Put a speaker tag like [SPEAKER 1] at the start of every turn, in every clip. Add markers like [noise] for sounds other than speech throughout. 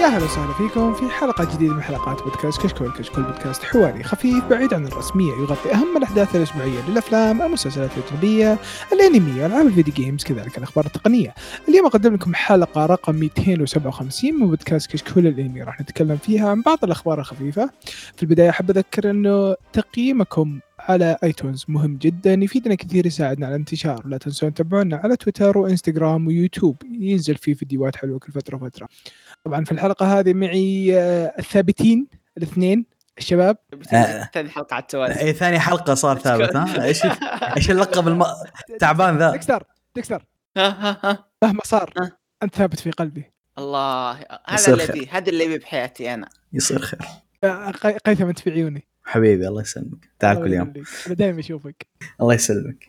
[SPEAKER 1] اهلا وسهلا فيكم في حلقه جديده من حلقات بودكاست كشكول، كشكول بودكاست حواري خفيف بعيد عن الرسميه يغطي اهم الاحداث الاسبوعيه للافلام، المسلسلات الاجنبيه، الانمي، العاب الفيديو جيمز، كذلك الاخبار التقنيه. اليوم اقدم لكم حلقه رقم 257 من بودكاست كشكول الانمي، راح نتكلم فيها عن بعض الاخبار الخفيفه. في البدايه احب اذكر انه تقييمكم على ايتونز مهم جدا يفيدنا كثير يساعدنا على الانتشار لا تنسون تتابعونا على تويتر وانستغرام ويوتيوب ينزل فيه فيديوهات حلوه كل فتره وفتره طبعا في الحلقه هذه معي آه، الثابتين الاثنين الشباب
[SPEAKER 2] آه.
[SPEAKER 3] بتنزل ثاني حلقه على
[SPEAKER 2] [laughs]
[SPEAKER 3] التوالي
[SPEAKER 2] اي إيه، ثاني حلقه صار ثابت ها ايش ايش اللقب الم... تعبان ذا
[SPEAKER 1] ديكستر ديكستر
[SPEAKER 3] ها ها ها
[SPEAKER 1] مهما صار
[SPEAKER 3] أه.
[SPEAKER 1] انت ثابت في قلبي
[SPEAKER 3] الله هذا
[SPEAKER 2] يصير خير.
[SPEAKER 3] الذي هذا اللي بحياتي انا
[SPEAKER 2] يصير خير
[SPEAKER 1] آه، قي- قيثم انت في عيوني
[SPEAKER 2] حبيبي الله يسلمك تعال كل يوم
[SPEAKER 1] انا دائما اشوفك
[SPEAKER 2] الله يسلمك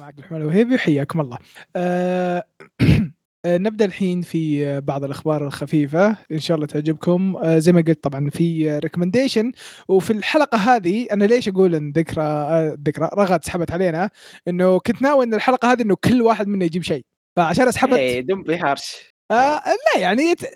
[SPEAKER 1] معك الحمال وهيبي وحياكم الله آه، [clears throat] آه، نبدا الحين في آه، بعض الاخبار الخفيفه ان شاء الله تعجبكم آه، زي ما قلت طبعا في ريكومنديشن وفي الحلقه هذه انا ليش اقول ان ذكرى آه، ذكرى رغد سحبت علينا انه كنت ناوي ان الحلقه هذه انه كل واحد منا يجيب شيء فعشان اسحبت
[SPEAKER 3] اي إيه، دم بهارش
[SPEAKER 1] آه، لا يعني ت-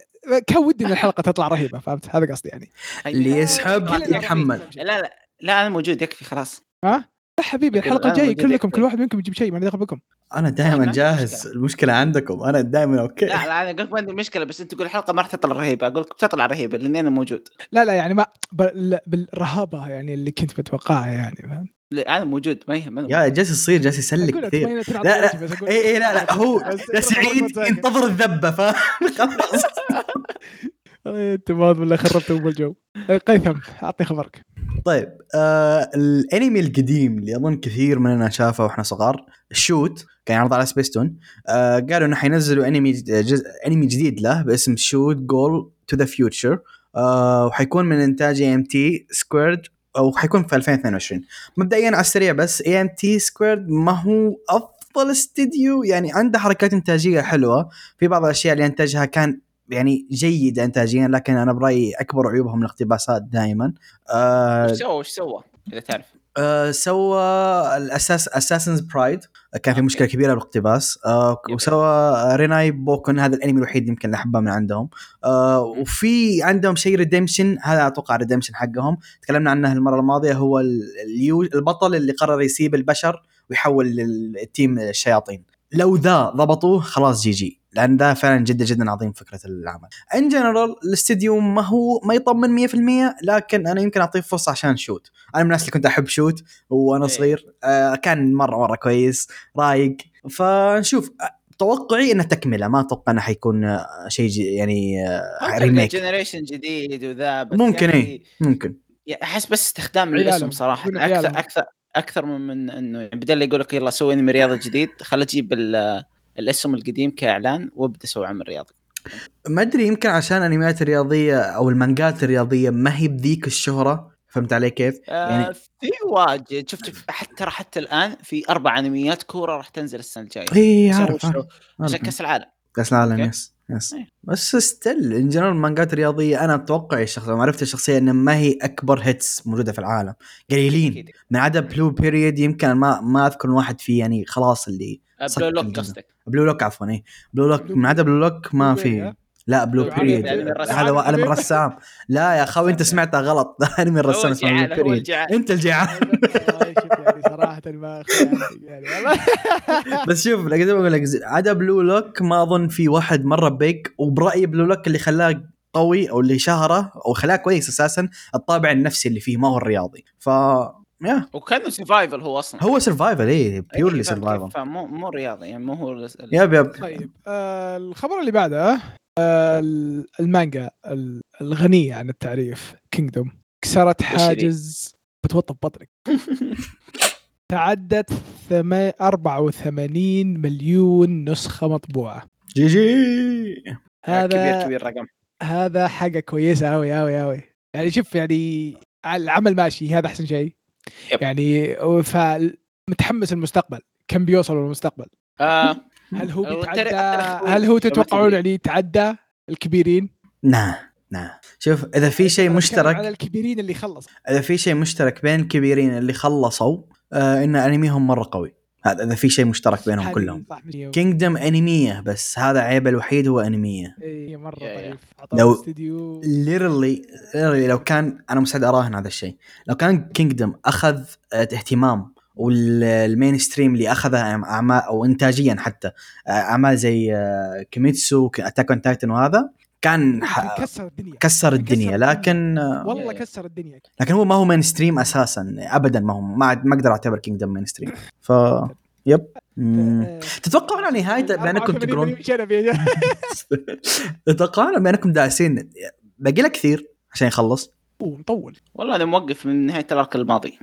[SPEAKER 1] كان ودي ان الحلقه تطلع رهيبه فهمت هذا قصدي يعني آه،
[SPEAKER 2] اللي يسحب
[SPEAKER 1] كلنا
[SPEAKER 2] يحمل
[SPEAKER 3] لا لا لا انا موجود يكفي
[SPEAKER 2] [laughs]
[SPEAKER 3] خلاص
[SPEAKER 1] ها لا حبيبي الحلقه
[SPEAKER 3] أنا
[SPEAKER 1] الجايه
[SPEAKER 3] موجود
[SPEAKER 1] كلكم
[SPEAKER 3] يكفي.
[SPEAKER 1] كل واحد منكم يجيب شيء ما لي دخل بكم
[SPEAKER 2] انا
[SPEAKER 3] ما
[SPEAKER 2] دائما
[SPEAKER 3] عندي
[SPEAKER 2] جاهز
[SPEAKER 3] مشكلة.
[SPEAKER 2] المشكله عندكم انا دائما اوكي
[SPEAKER 3] لا لا انا قلت ما عندي مشكله بس انت تقول الحلقه ما راح تطلع رهيبه اقول لك بتطلع رهيبه لاني انا موجود
[SPEAKER 1] لا لا يعني ما بال- بالرهابه يعني اللي كنت متوقعها يعني فاهم
[SPEAKER 3] لا، انا موجود ما يهم أنا
[SPEAKER 2] يا جالس يصير جالس يسلك
[SPEAKER 1] أقول
[SPEAKER 2] كثير
[SPEAKER 1] أتمنى تنعطي
[SPEAKER 2] لا، لا.
[SPEAKER 1] وجهي، بس أقول-
[SPEAKER 2] اي اي لا لا هو
[SPEAKER 1] بس
[SPEAKER 2] جالس
[SPEAKER 1] [laughs]
[SPEAKER 2] يعيد
[SPEAKER 1] أتمنى تنعطي
[SPEAKER 2] ينتظر الذبه فاهم خلاص
[SPEAKER 1] وجهي. انت إيه، ما ولا خربت ام الجو إيه، قيثم اعطني خبرك
[SPEAKER 2] طيب آه الانمي القديم اللي اظن كثير مننا شافه واحنا صغار الشوت كان يعرض على سبيستون آه قالوا انه حينزلوا انمي جزء انمي جديد له باسم شوت جول تو ذا فيوتشر آه، وحيكون من انتاج اي ام تي سكويرد او حيكون في 2022 مبدئيا على السريع بس اي ام تي سكويرد ما هو افضل استديو يعني عنده حركات انتاجيه حلوه في بعض الاشياء اللي انتجها كان يعني جيده انتاجيا لكن انا برايي اكبر عيوبهم الاقتباسات دائما آه،
[SPEAKER 3] وش سوى وش سوى اذا تعرف
[SPEAKER 2] آه، سوى الاساس اساسنز برايد آه، كان
[SPEAKER 3] أوكي.
[SPEAKER 2] في مشكله كبيره بالاقتباس آه،
[SPEAKER 3] يب.
[SPEAKER 2] وسوى ريناي بوكن هذا الانمي الوحيد يمكن اللي احبه من عندهم آه، وفي عندهم شيء ريديمشن هذا اتوقع ريديمشن حقهم تكلمنا عنه المره الماضيه هو ال- اليو- البطل اللي قرر يسيب البشر ويحول للتيم الشياطين لو ذا ضبطوه خلاص جي جي لان ذا فعلا جدا جدا عظيم فكره العمل ان جنرال الاستديو ما هو ما يطمن 100% لكن انا يمكن اعطيه فرصه عشان شوت انا من الناس اللي كنت احب شوت وانا
[SPEAKER 3] إيه.
[SPEAKER 2] صغير آه كان مره مره كويس رايق فنشوف آه، توقعي انه تكمله ما اتوقع انه حيكون آه، شيء جي- يعني آه، ريميك
[SPEAKER 3] جنريشن جديد وذا بس يعني
[SPEAKER 2] ممكن إيه.
[SPEAKER 3] يا أخي-
[SPEAKER 2] اي ممكن
[SPEAKER 3] يا- احس يعني بس استخدام
[SPEAKER 1] عيالهم.
[SPEAKER 3] الاسم صراحه
[SPEAKER 1] من عيالهم.
[SPEAKER 3] اكثر اكثر اكثر من من انه يعني بدل يقول لك يلا سوي انمي رياضه جديد خليني اجيب ال- الاسم القديم كاعلان وابدا اسوي عمل رياضي
[SPEAKER 2] ما ادري يمكن عشان الانميات الرياضيه او المانجات الرياضيه ما هي بذيك الشهره فهمت علي كيف؟
[SPEAKER 3] يعني
[SPEAKER 2] يعني-
[SPEAKER 3] في واجد شفت شوف حتى ترى حتى الان في اربع انميات كوره راح تنزل السنه الجايه
[SPEAKER 2] اي
[SPEAKER 3] سووا
[SPEAKER 2] إيه، عارف آه،
[SPEAKER 3] شو-
[SPEAKER 2] عارف.
[SPEAKER 3] عشان
[SPEAKER 2] عارف.
[SPEAKER 3] كاس العالم
[SPEAKER 2] كاس العالم
[SPEAKER 3] أوكي.
[SPEAKER 2] يس يس
[SPEAKER 3] إيه.
[SPEAKER 2] بس ستيل ان جنرال مانجات رياضيه انا اتوقع الشخص معرفتي الشخصيه انها ما هي اكبر هيتس موجوده في العالم قليلين
[SPEAKER 3] أكيد.
[SPEAKER 2] من عدا بلو بيريد يمكن ما ما اذكر إن واحد فيه يعني خلاص اللي صك
[SPEAKER 3] بلو لوك
[SPEAKER 2] الجنة.
[SPEAKER 3] آه، قصدك
[SPEAKER 2] بلو لوك عفوا اي بلو لوك
[SPEAKER 1] بلو
[SPEAKER 2] إيه. من عدا بلو لوك ما
[SPEAKER 1] بلو بيري،
[SPEAKER 2] في
[SPEAKER 1] ها؟ [laughs]
[SPEAKER 2] لا بلو
[SPEAKER 3] بلو
[SPEAKER 2] بيريد
[SPEAKER 3] بيريد، أنمي الرسام.
[SPEAKER 2] هذا هو- انمي الرسام لا يا اخوي انت
[SPEAKER 3] [laughs]
[SPEAKER 2] سمعتها غلط [laughs] انمي الرسام
[SPEAKER 3] هو
[SPEAKER 2] اسمه
[SPEAKER 3] الجعان،
[SPEAKER 2] بلو
[SPEAKER 3] هو
[SPEAKER 2] بيريد
[SPEAKER 3] الجعان.
[SPEAKER 2] انت الجيعان
[SPEAKER 1] والله شوف يعني صراحه ما أخفي عنك يعني والله.
[SPEAKER 2] بس شوف لقيت بقول لك زي- عدا بلو لوك ما اظن في واحد مره بيج وبرايي بلو لوك اللي خلاه قوي او اللي شهره او خلاه كويس اساسا الطابع النفسي اللي فيه ما هو الرياضي ف يا
[SPEAKER 3] وكانه سيفايفل هو اصلا
[SPEAKER 2] هو إيه، سرفايفل اي
[SPEAKER 3] أي،
[SPEAKER 2] بيورلي
[SPEAKER 3] فاهم كيف؟
[SPEAKER 2] سرفايفل
[SPEAKER 3] فمو مو رياضي يعني مو هو ال-
[SPEAKER 2] يب يب
[SPEAKER 1] طيب آه، الخبر اللي بعده آه، ال- المانجا ال- الغنيه عن التعريف كينجدوم كسرت
[SPEAKER 3] وش ذي؟
[SPEAKER 1] حاجز بتوطى
[SPEAKER 3] [laughs]
[SPEAKER 1] بطنك تعدت ثما- 84 مليون نسخه مطبوعه
[SPEAKER 2] جي جي
[SPEAKER 3] آه، كبير
[SPEAKER 1] هذا
[SPEAKER 3] كبير رقم
[SPEAKER 1] هذا حاجه كويسه أوي أوي أوي يعني شوف يعني العمل ماشي هذا احسن شيء
[SPEAKER 3] يب.
[SPEAKER 1] يعني فمتحمس المستقبل كم بيوصل المستقبل
[SPEAKER 3] آه،
[SPEAKER 1] هل هو
[SPEAKER 3] أو
[SPEAKER 1] بيتعدى
[SPEAKER 3] ترى- ترى-
[SPEAKER 1] هل هو تتوقعون
[SPEAKER 3] تدري.
[SPEAKER 1] يعني يتعدى الكبيرين
[SPEAKER 2] نا نا شوف اذا في شيء
[SPEAKER 1] أنا بتكلم على
[SPEAKER 2] مشترك
[SPEAKER 1] الكبيرين اللي خلص
[SPEAKER 2] اذا في شيء مشترك بين الكبيرين اللي خلصوا آه ان انميهم مره قوي هذا إذا في شيء مشترك بينهم
[SPEAKER 1] هذه
[SPEAKER 2] نعم، كلهم
[SPEAKER 1] صح مش-
[SPEAKER 2] كينجدم انميه بس هذا عيبه الوحيد هو انميه
[SPEAKER 1] اي مره
[SPEAKER 3] يا- يا.
[SPEAKER 1] ضعيف
[SPEAKER 2] لو-
[SPEAKER 1] عطاهم استديو
[SPEAKER 2] ليرلي ليرلي لو كان انا مستعد اراهن هذا الشيء لو كان كينجدم اخذ آه، اهتمام والمين ستريم اللي اخذها أعم- اعمال او انتاجيا حتى آه، اعمال زي آه، كيميتسو اتاك اون تايتن وهذا كان ح-
[SPEAKER 1] كسر الدنيا
[SPEAKER 2] كسر الدنيا
[SPEAKER 1] الدنيا.
[SPEAKER 2] لكن آه،
[SPEAKER 1] والله
[SPEAKER 3] يا-
[SPEAKER 1] كسر الدنيا
[SPEAKER 2] لكن هو ما هو مين ستريم اساسا ابدا ما هو ما عاد- ما اقدر اعتبر كينجدم مين ستريم ف يب مم.
[SPEAKER 1] آه،
[SPEAKER 2] تتوقعون على نهايته بانكم
[SPEAKER 1] 84
[SPEAKER 2] تقرون
[SPEAKER 1] مليون شنب يا جماعة.
[SPEAKER 2] [laughs] تتوقعون بانكم داعسين باقي له كثير عشان يخلص
[SPEAKER 1] أوه، مطول
[SPEAKER 3] والله انا موقف من نهايه الارك الماضي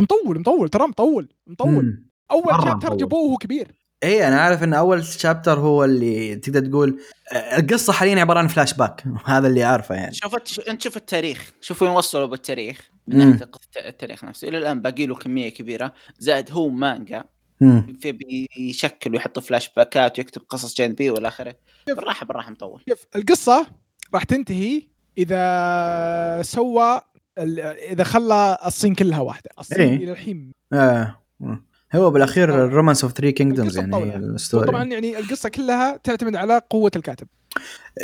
[SPEAKER 3] م
[SPEAKER 1] مطول مطول ترى مطول مطول
[SPEAKER 2] مم.
[SPEAKER 1] اول
[SPEAKER 2] مرة
[SPEAKER 1] شابتر
[SPEAKER 2] مطول.
[SPEAKER 1] جابوه وهو كبير
[SPEAKER 2] ايه انا عارف ان اول شابتر هو اللي تقدر تقول آه، القصه حاليا عباره عن فلاش باك [laughs] هذا اللي عارفه يعني
[SPEAKER 3] شوفت ش... انت شوف التاريخ شوفوا وين وصلوا بالتاريخ من
[SPEAKER 2] مم.
[SPEAKER 3] ناحيه الت- التاريخ نفسه الى الان باقي له كميه كبيره زائد هو مانجا
[SPEAKER 2] مم.
[SPEAKER 3] في بيشكل ويحط فلاش باكات ويكتب قصص جانبيه والى اخره بالراحه بالراحه مطول
[SPEAKER 1] شوف القصه راح تنتهي اذا سوى ال- اذا خلى الصين كلها واحده الصين
[SPEAKER 2] إيه.
[SPEAKER 1] الى الحين
[SPEAKER 2] آه. مم. هو بالاخير الرومانس اوف ثري كينجدومز
[SPEAKER 1] القصة
[SPEAKER 2] يعني
[SPEAKER 1] مطولة.
[SPEAKER 2] هي
[SPEAKER 1] طبعا
[SPEAKER 2] الستوري
[SPEAKER 1] يعني القصه كلها تعتمد على قوه الكاتب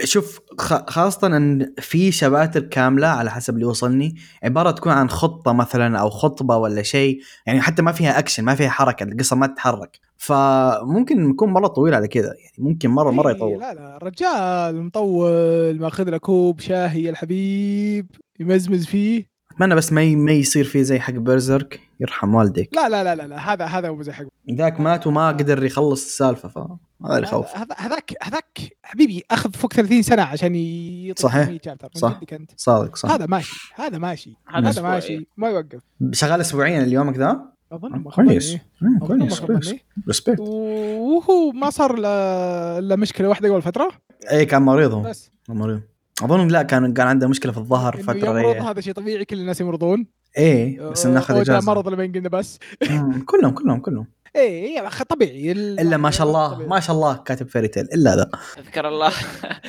[SPEAKER 2] شوف خ- خاصه ان في شباتر كامله على حسب اللي وصلني عباره تكون عن خطه مثلا او خطبه ولا شيء يعني حتى ما فيها اكشن ما فيها حركه القصه ما تتحرك فممكن يكون مره طويل على كذا يعني ممكن مره مره
[SPEAKER 1] إيه،
[SPEAKER 2] يطول
[SPEAKER 1] لا لا الرجال مطول ماخذ له كوب شاهي يا الحبيب يمزمز فيه
[SPEAKER 2] اتمنى بس ما ي- ما يصير فيه زي حق بيرزرك يرحم والديك
[SPEAKER 1] لا لا لا لا, لا هذا هذا هو مزاج حق
[SPEAKER 2] ذاك مات وما قدر يخلص السالفه فهذا اللي خوف
[SPEAKER 1] هذا- هذا- هذاك هذاك حبيبي اخذ فوق 30 سنه عشان يطلع
[SPEAKER 2] صحيح.
[SPEAKER 1] 100 chapter. من
[SPEAKER 2] صح.
[SPEAKER 1] جدك انت
[SPEAKER 2] صادق صح
[SPEAKER 1] هذا ماشي هذا ماشي
[SPEAKER 3] هذا
[SPEAKER 1] هذا
[SPEAKER 3] أسبوع،
[SPEAKER 1] ماشي
[SPEAKER 3] إيه.
[SPEAKER 1] ما يوقف
[SPEAKER 2] شغال اسبوعيا اليوم كذا
[SPEAKER 1] اظن ما
[SPEAKER 2] كويس
[SPEAKER 1] خبرني.
[SPEAKER 2] مم،
[SPEAKER 1] أظن ما
[SPEAKER 2] كويس كويس
[SPEAKER 1] خبرني
[SPEAKER 2] ريسبكت
[SPEAKER 1] وهو ما صار له- الا مشكله واحده قبل فتره
[SPEAKER 2] اي إيه، كان مريض هو
[SPEAKER 1] بس
[SPEAKER 2] كان مريض اظن لا كان كان عنده مشكله في الظهر
[SPEAKER 1] إنه
[SPEAKER 2] فتره
[SPEAKER 1] يمرض
[SPEAKER 2] اي
[SPEAKER 1] هذا شيء طبيعي كل الناس يمرضون
[SPEAKER 2] ايه بس ناخذ
[SPEAKER 1] أودا
[SPEAKER 2] اجازه
[SPEAKER 1] مرض لما قلنا بس
[SPEAKER 2] [laughs]
[SPEAKER 1] إيه،
[SPEAKER 2] مم، كلهم كلهم كلهم
[SPEAKER 1] اي إي، أخ- طبيعي ال-
[SPEAKER 2] الا ما شاء الله
[SPEAKER 1] طبيعي.
[SPEAKER 2] ما شاء الله كاتب فيري تيل الا ذا
[SPEAKER 3] اذكر الله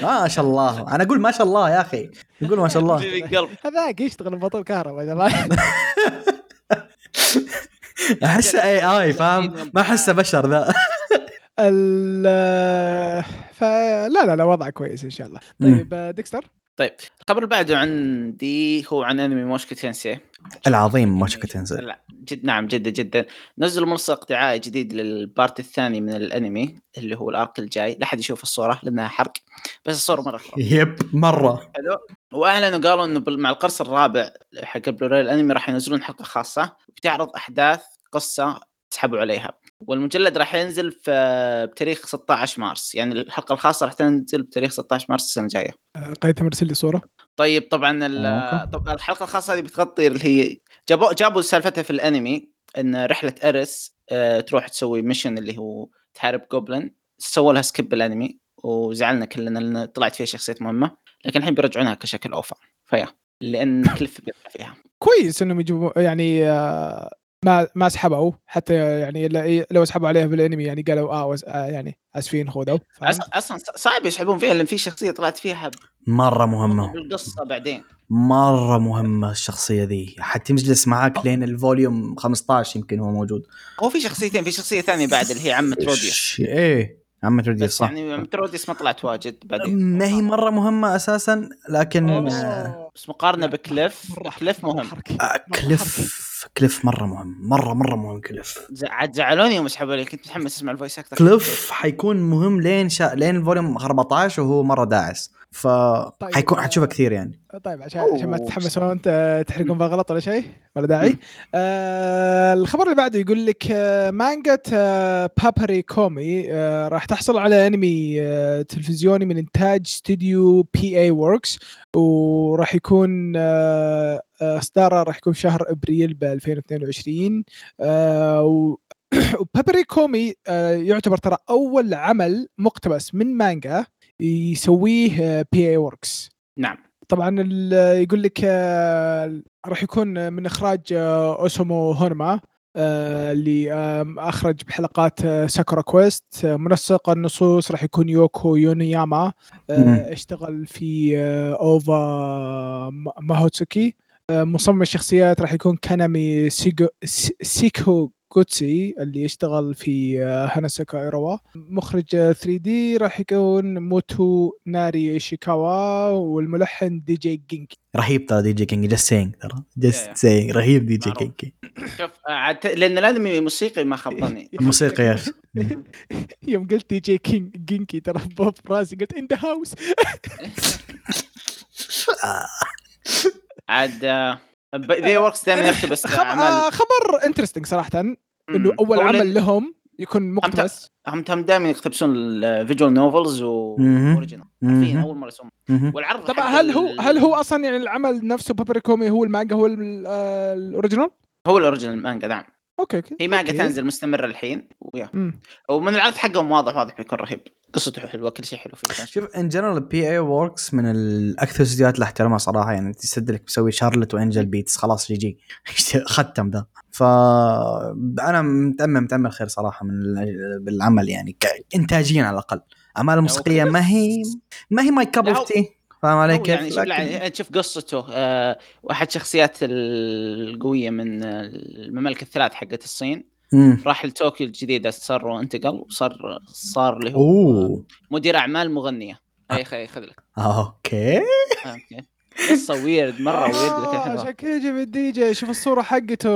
[SPEAKER 2] ما شاء الله انا اقول ما شاء الله يا اخي نقول ما شاء
[SPEAKER 3] [laughs]
[SPEAKER 2] [laughs] الله
[SPEAKER 3] في قلب
[SPEAKER 1] هذاك يشتغل بطل كهرباء يا جماعة.
[SPEAKER 2] احسه اي اي فاهم ما احسه بشر ذا [laughs]
[SPEAKER 1] ال- فلا لا لا وضع كويس ان شاء الله طيب آه، ديكستر
[SPEAKER 3] الخبر اللي بعده عندي هو عن انمي موشكو تنسي
[SPEAKER 2] العظيم ما شكت تنزل
[SPEAKER 3] لا جد نعم جدا جدا نزلوا منسق دعائي جديد للبارت الثاني من الانمي اللي هو الارك الجاي لا احد يشوف الصوره لانها حرق بس الصوره مره حلوة.
[SPEAKER 2] يب مره
[SPEAKER 3] حلو واعلنوا قالوا انه بال- مع القرص الرابع حق البلوراي الانمي راح ينزلون حلقه خاصه بتعرض احداث قصه تسحبوا عليها والمجلد راح ينزل في بتاريخ 16 مارس يعني الحلقه الخاصه راح تنزل بتاريث 16 مارس السنه الجايه
[SPEAKER 1] قيثم ارسل لي صوره
[SPEAKER 3] طيب طبعا
[SPEAKER 2] أوكي.
[SPEAKER 3] ال- طبعا الحلقه الخاصه هذه بتغطي اللي هي جابوا جابوا سالفتها في الانمي ان رحله ارس آه، تروح تسوي ميشن اللي هو تحارب جوبلن سووا لها سكيب الانمي وزعلنا كلنا لان طلعت فيها شخصيه مهمه لكن الحين بيرجعونها كشكل اوفا فيا لان كلف بيطلع فيها
[SPEAKER 1] كويس انهم يجيبوا يعني آه، ما ما سحبوا حتى يعني لا- لو سحبوا عليها بالانمي يعني قالوا اه وز- آه، يعني اسفين خذوا فهمت؟
[SPEAKER 3] أص- اصلا صعب يسحبون فيها لان في شخصيه طلعت فيها
[SPEAKER 2] مره مهمه
[SPEAKER 3] بالقصه بعدين
[SPEAKER 2] مره مهمه الشخصيه ذي حتمجلس معاك لين الفوليوم 15 يمكن هو موجود
[SPEAKER 3] هو في شخصيتين في شخصيه ثانيه بعد اللي هي عمه روديوس
[SPEAKER 2] ش- ايه عمة روديوس
[SPEAKER 3] بس
[SPEAKER 2] صح
[SPEAKER 3] يعني عمه روديوس ما طلعت واجد بعدين
[SPEAKER 2] ما هي مره مهمه اساسا لكن آه،
[SPEAKER 1] أوه.
[SPEAKER 3] بس مقارنه بكليف
[SPEAKER 1] مرة
[SPEAKER 3] كليف مهم
[SPEAKER 1] حركة. مرة حركة.
[SPEAKER 2] كليف كليف مره مهم مره مره مهم كليف
[SPEAKER 3] ز- عاد زعلوني يوم اسحبوا لي كنت متحمس اسمع الفويس اكثر
[SPEAKER 2] كليف حيكون مهم لين شا... لين الفوليوم 14 وهو مره داعس ف
[SPEAKER 3] طيب.
[SPEAKER 2] حيكون حتشوفه كثير يعني
[SPEAKER 1] طيب عشان عشان ما
[SPEAKER 3] أوه.
[SPEAKER 1] تتحمسون ت- تحرقون فيها غلط ولا شيء ولا داعي آه الخبر اللي بعده يقول لك آه مانجا آه بابري كومي آه راح تحصل على انمي آه تلفزيوني من انتاج استوديو بي اي ووركس وراح يكون آه آه، اصداره راح يكون في شهر ابريل ب 2022 آه و [coughs] وبابري كومي آه، يعتبر ترى اول عمل مقتبس من مانجا يسويه آه، بي اي ووركس
[SPEAKER 3] نعم
[SPEAKER 1] طبعا ال- يقول لك آه، راح يكون من اخراج آه، اوسومو هونما آه، اللي آم، اخرج بحلقات آه، ساكورا كويست آه، منسق النصوص راح يكون يوكو يونياما آه،
[SPEAKER 2] مم.
[SPEAKER 1] اشتغل في آه، اوفا ما- ماهوتسوكي آه، مصمم الشخصيات راح يكون كانامي سيجو- سي- سيكو كوتسي اللي يشتغل في آه، هاناساكا ايروا مخرج 3 دي راح يكون موتو ناري ايشيكاوا والملحن دي جي جينك
[SPEAKER 2] رهيب ترى دي جي كينج جاست سينج ترى جاست
[SPEAKER 3] يا.
[SPEAKER 2] سينج رهيب دي جي
[SPEAKER 3] معروف.
[SPEAKER 2] كينج
[SPEAKER 3] شوف آه، عاد- لان الانمي موسيقي ما
[SPEAKER 1] [laughs]
[SPEAKER 3] خبطني
[SPEAKER 2] الموسيقى يا اخي
[SPEAKER 3] [laughs]
[SPEAKER 1] يوم قلت دي جي كينج جينكي ترى بوب راسي قلت ان ذا هاوس
[SPEAKER 3] عاد آه، ب- ذي وركس دائما
[SPEAKER 1] إيه،
[SPEAKER 3] يقتبس اعمال
[SPEAKER 1] آه، خبر انترستنج صراحه انه
[SPEAKER 3] مم.
[SPEAKER 1] اول
[SPEAKER 3] هو لأن-
[SPEAKER 1] عمل لهم يكون مقتبس
[SPEAKER 3] هم هم دائما يقتبسون الفيجوال نوفلز و
[SPEAKER 2] مهم.
[SPEAKER 3] اوريجينال عارفين اول مره يسمون
[SPEAKER 2] مهم.
[SPEAKER 3] والعرض
[SPEAKER 1] طبعا
[SPEAKER 3] حق
[SPEAKER 1] هل هو
[SPEAKER 3] ال-
[SPEAKER 1] هل هو اصلا يعني العمل نفسه بابريكومي هو المانجا هو ال- آه، الاوريجينال؟
[SPEAKER 3] هو الاوريجينال مانجا نعم
[SPEAKER 1] اوكي اوكي
[SPEAKER 3] هي مانجا
[SPEAKER 1] أوكي.
[SPEAKER 3] تنزل مستمره الحين ويا.
[SPEAKER 1] مم.
[SPEAKER 3] ومن العرض حقهم واضح واضح بيكون رهيب قصته حلوه كل شيء حلو فيه
[SPEAKER 2] شوف ان جنرال بي اي وركس من الاكثر استديوهات اللي احترمها صراحه يعني تسد لك مسوي شارلت وانجل بيتس خلاص جي [laughs] جي ختم ذا ف انا متامل متامل خير صراحه من ال- بالعمل يعني ك- انتاجيا على الاقل اعمال موسيقيه ما هي ما هي ماي كاب
[SPEAKER 3] لا،
[SPEAKER 2] اوف تي فاهم علي
[SPEAKER 3] أو
[SPEAKER 2] كيف؟
[SPEAKER 3] يعني شوف
[SPEAKER 2] لكن-
[SPEAKER 3] يعني تشوف قصته آه، واحد شخصيات القويه من الممالك الثلاث حقت الصين
[SPEAKER 2] مم.
[SPEAKER 3] راح لطوكيو الجديده صار وانتقل وصار صار اللي هو
[SPEAKER 2] اوه
[SPEAKER 3] مدير اعمال مغنيه هاي خي خذ لك
[SPEAKER 2] اوكي
[SPEAKER 3] آه، أوكي. قصه ويرد مره ويرد لكن
[SPEAKER 1] آه،
[SPEAKER 3] حلوه
[SPEAKER 1] عشان كذا جاب الدي جي شوف الصوره حقته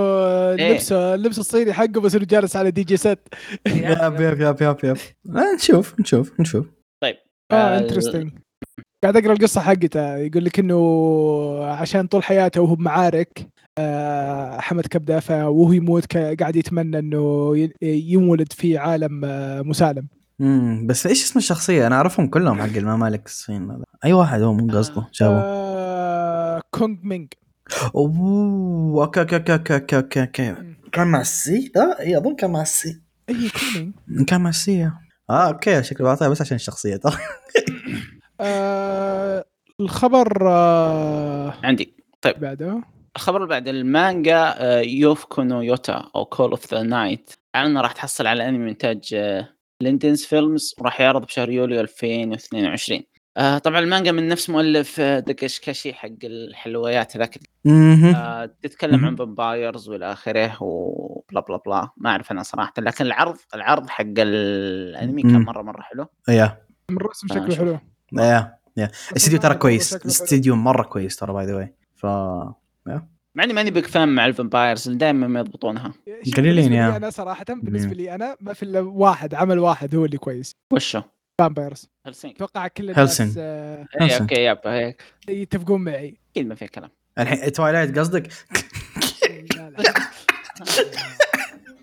[SPEAKER 3] إيه.
[SPEAKER 1] لبسه اللبس الصيني حقه بس انه جالس على دي جي ست
[SPEAKER 2] ياب ياب ياب ياب ياب آه، نشوف نشوف نشوف آه،
[SPEAKER 1] اه انترستنج قاعد اقرا القصه حقته يقول لك انه عشان طول حياته وهو بمعارك آه، حمد كبده فوهو يموت ك- قاعد يتمنى انه ي- ينولد في عالم آه، مسالم
[SPEAKER 2] امم بس ايش اسم الشخصيه؟ انا اعرفهم كلهم حق الممالك الصين هذا. اي واحد هو مو قصده جابه
[SPEAKER 1] آه، كونغ مينج
[SPEAKER 2] اوه اوكي اوكي اوكي اوكي اوكي اوكي اوكي كان مع السي لا إيه، اي اظن كان مع السي
[SPEAKER 1] اي كونغ مينج
[SPEAKER 2] كان مع السي اه اوكي شكله بعطيها بس عشان الشخصيه ترى
[SPEAKER 1] آه، الخبر آه،
[SPEAKER 3] عندي
[SPEAKER 1] بعده
[SPEAKER 3] الخبر اللي بعد المانجا آه، يوفكو نو يوتا او كول اوف ذا نايت اعلن راح تحصل على انمي انتاج آه، ليندنز فيلمز وراح يعرض بشهر يوليو 2022 آه، طبعا المانجا من نفس مؤلف آه، دكشكشي حق الحلويات هذاك
[SPEAKER 2] مهم.
[SPEAKER 3] آه، تتكلم عن
[SPEAKER 2] مهم.
[SPEAKER 3] فامبايرز والى اخره وبلا بلا بلا ما اعرف انا صراحه لكن العرض العرض حق الانمي كان
[SPEAKER 2] مم.
[SPEAKER 3] مره مره حلو
[SPEAKER 2] يا
[SPEAKER 1] من الرسم
[SPEAKER 3] آه،
[SPEAKER 1] شكله
[SPEAKER 3] شوف.
[SPEAKER 1] حلو
[SPEAKER 2] يا يا الاستديو ترى كويس
[SPEAKER 1] شكله حلو.
[SPEAKER 2] الاستديو مره كويس ترى باي ذا واي ف
[SPEAKER 3] مع اني ماني بيج فان مع الفامبايرز دائما ما يضبطونها
[SPEAKER 1] شوف،
[SPEAKER 2] قليلين
[SPEAKER 1] بالنسبة لي
[SPEAKER 2] يا.
[SPEAKER 1] انا صراحه بالنسبه لي انا ما في الا واحد عمل واحد هو اللي كويس
[SPEAKER 3] وشو
[SPEAKER 1] فامبايرز
[SPEAKER 3] هلسنكي
[SPEAKER 1] اتوقع كل
[SPEAKER 2] Hellsing.
[SPEAKER 1] الناس آه،
[SPEAKER 3] إيه، اوكي يابا إيه،
[SPEAKER 1] يتفقون معي
[SPEAKER 3] اكيد ما فيها كلام
[SPEAKER 2] الحين توايلايت قصدك؟
[SPEAKER 1] لا، لا.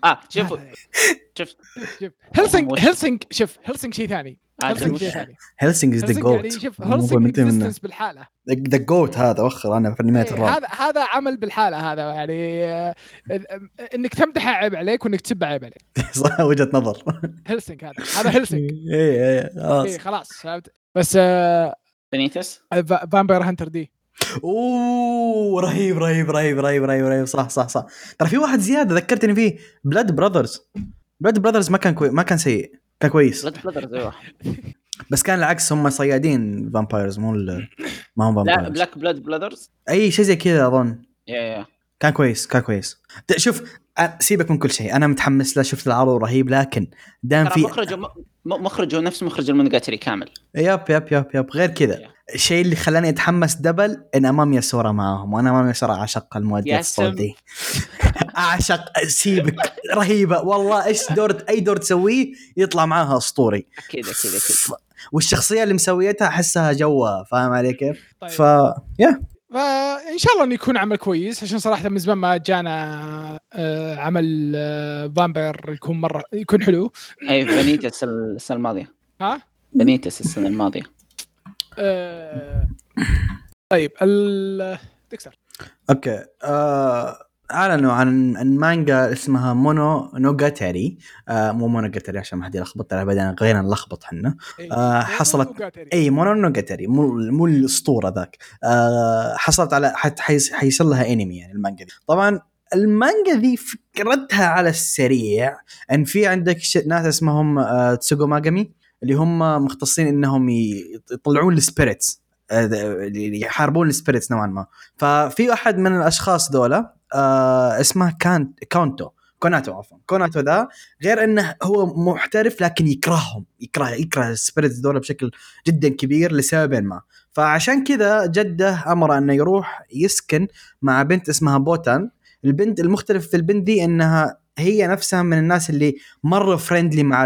[SPEAKER 3] اه شوفوا شفت
[SPEAKER 1] شوف هلسنج هلسنج شوف هلسنج شيء ثاني
[SPEAKER 3] عاد
[SPEAKER 1] هلسنج
[SPEAKER 3] وش-
[SPEAKER 1] شيء ثاني
[SPEAKER 2] هيلسنج از ذا
[SPEAKER 1] هلسنج يعني
[SPEAKER 2] جوت
[SPEAKER 1] شوف هلسنج existence بالحاله
[SPEAKER 2] ذا جوت هذا وخر انا في
[SPEAKER 1] إيه،
[SPEAKER 2] انميات الرعب
[SPEAKER 1] هذا هذا عمل بالحاله هذا يعني آه، ال- انك تمدحه عيب عليك وانك تسبه عيب عليك
[SPEAKER 2] [laughs] صح وجهه نظر إيه،
[SPEAKER 1] هلسنك هذا هذا
[SPEAKER 2] [laughs]
[SPEAKER 1] هلسنك
[SPEAKER 2] اي اي خلاص
[SPEAKER 1] إيه خلاص فهمت بس آه،
[SPEAKER 3] بنيتس
[SPEAKER 1] فا- فامباير هانتر دي
[SPEAKER 2] اوه رهيب رهيب رهيب رهيب رهيب رهيب صح صح صح ترى في واحد زياده ذكرتني فيه بلاد براذرز بلاد براذرز ما كان كوي... ما كان سيء كان كويس
[SPEAKER 3] بلاد بلادرز ايوه
[SPEAKER 2] بس كان العكس هم صيادين فامبايرز مو ال... ما هم
[SPEAKER 3] لا
[SPEAKER 2] فامبايرز
[SPEAKER 3] بلاك بلاد بلادرز
[SPEAKER 2] اي شيء زي كذا اظن
[SPEAKER 3] يا يا
[SPEAKER 2] كان كويس كان كويس د- شوف أ- سيبك من كل شيء انا متحمس له شفت العرض رهيب لكن دام
[SPEAKER 3] ترى
[SPEAKER 2] في
[SPEAKER 3] مخرجه م- مخرجه نفس مخرج المونجاتري كامل
[SPEAKER 2] ياب ياب ياب ياب غير كذا الشيء اللي خلاني اتحمس دبل ان امام يسورا معاهم وانا امام يسورا اعشق المؤدية
[SPEAKER 3] يا
[SPEAKER 2] الصوتية [laughs] اعشق سيبك رهيبه والله ايش دور اي دور تسويه يطلع معاها اسطوري
[SPEAKER 3] اكيد اكيد اكيد
[SPEAKER 2] والشخصيه اللي مسويتها احسها جوها فاهم علي كيف؟
[SPEAKER 1] [laughs] طيب
[SPEAKER 2] ف يا
[SPEAKER 1] فان شاء الله انه يكون عمل كويس عشان صراحه من زمان ما جانا آه، عمل آه، فامباير يكون مره يكون حلو
[SPEAKER 3] اي بنيتس السنه الماضيه
[SPEAKER 1] ها
[SPEAKER 3] بنيتس السنه الماضيه
[SPEAKER 1] آه، طيب ال ديكستر
[SPEAKER 2] اوكي آه، اعلنوا عن عن مانجا اسمها مونو نوجاتاري آه، مو مونوجاتاري عشان ما حد يلخبط ترى ابدا غيرنا نلخبط احنا
[SPEAKER 1] إيه.
[SPEAKER 2] آه، حصلت
[SPEAKER 1] وقاتري.
[SPEAKER 2] اي مونونوجاتري مو مو الاسطوره ذاك آه حصلت على حت- حيص- حيصير لها انمي يعني المانجا دي طبعا المانجا ذي فكرتها على السريع ان في عندك ش- ناس اسمهم آه تسوغو ماجامي اللي هم مختصين انهم ي- يطلعون السبيريتس آه، اللي يحاربون السبيريتس نوعا ما ففي احد من الاشخاص ذولا آه اسمه كان كاونتو كوناتو عفوا كوناتو ذا غير انه هو محترف لكن يكرههم يكره يكره السبيريتس ذولا بشكل جدا كبير لسببين ما فعشان كذا جده امره انه يروح يسكن مع بنت اسمها بوتان البنت المختلف في البنت دي انها هي نفسها من الناس اللي مره فريندلي مع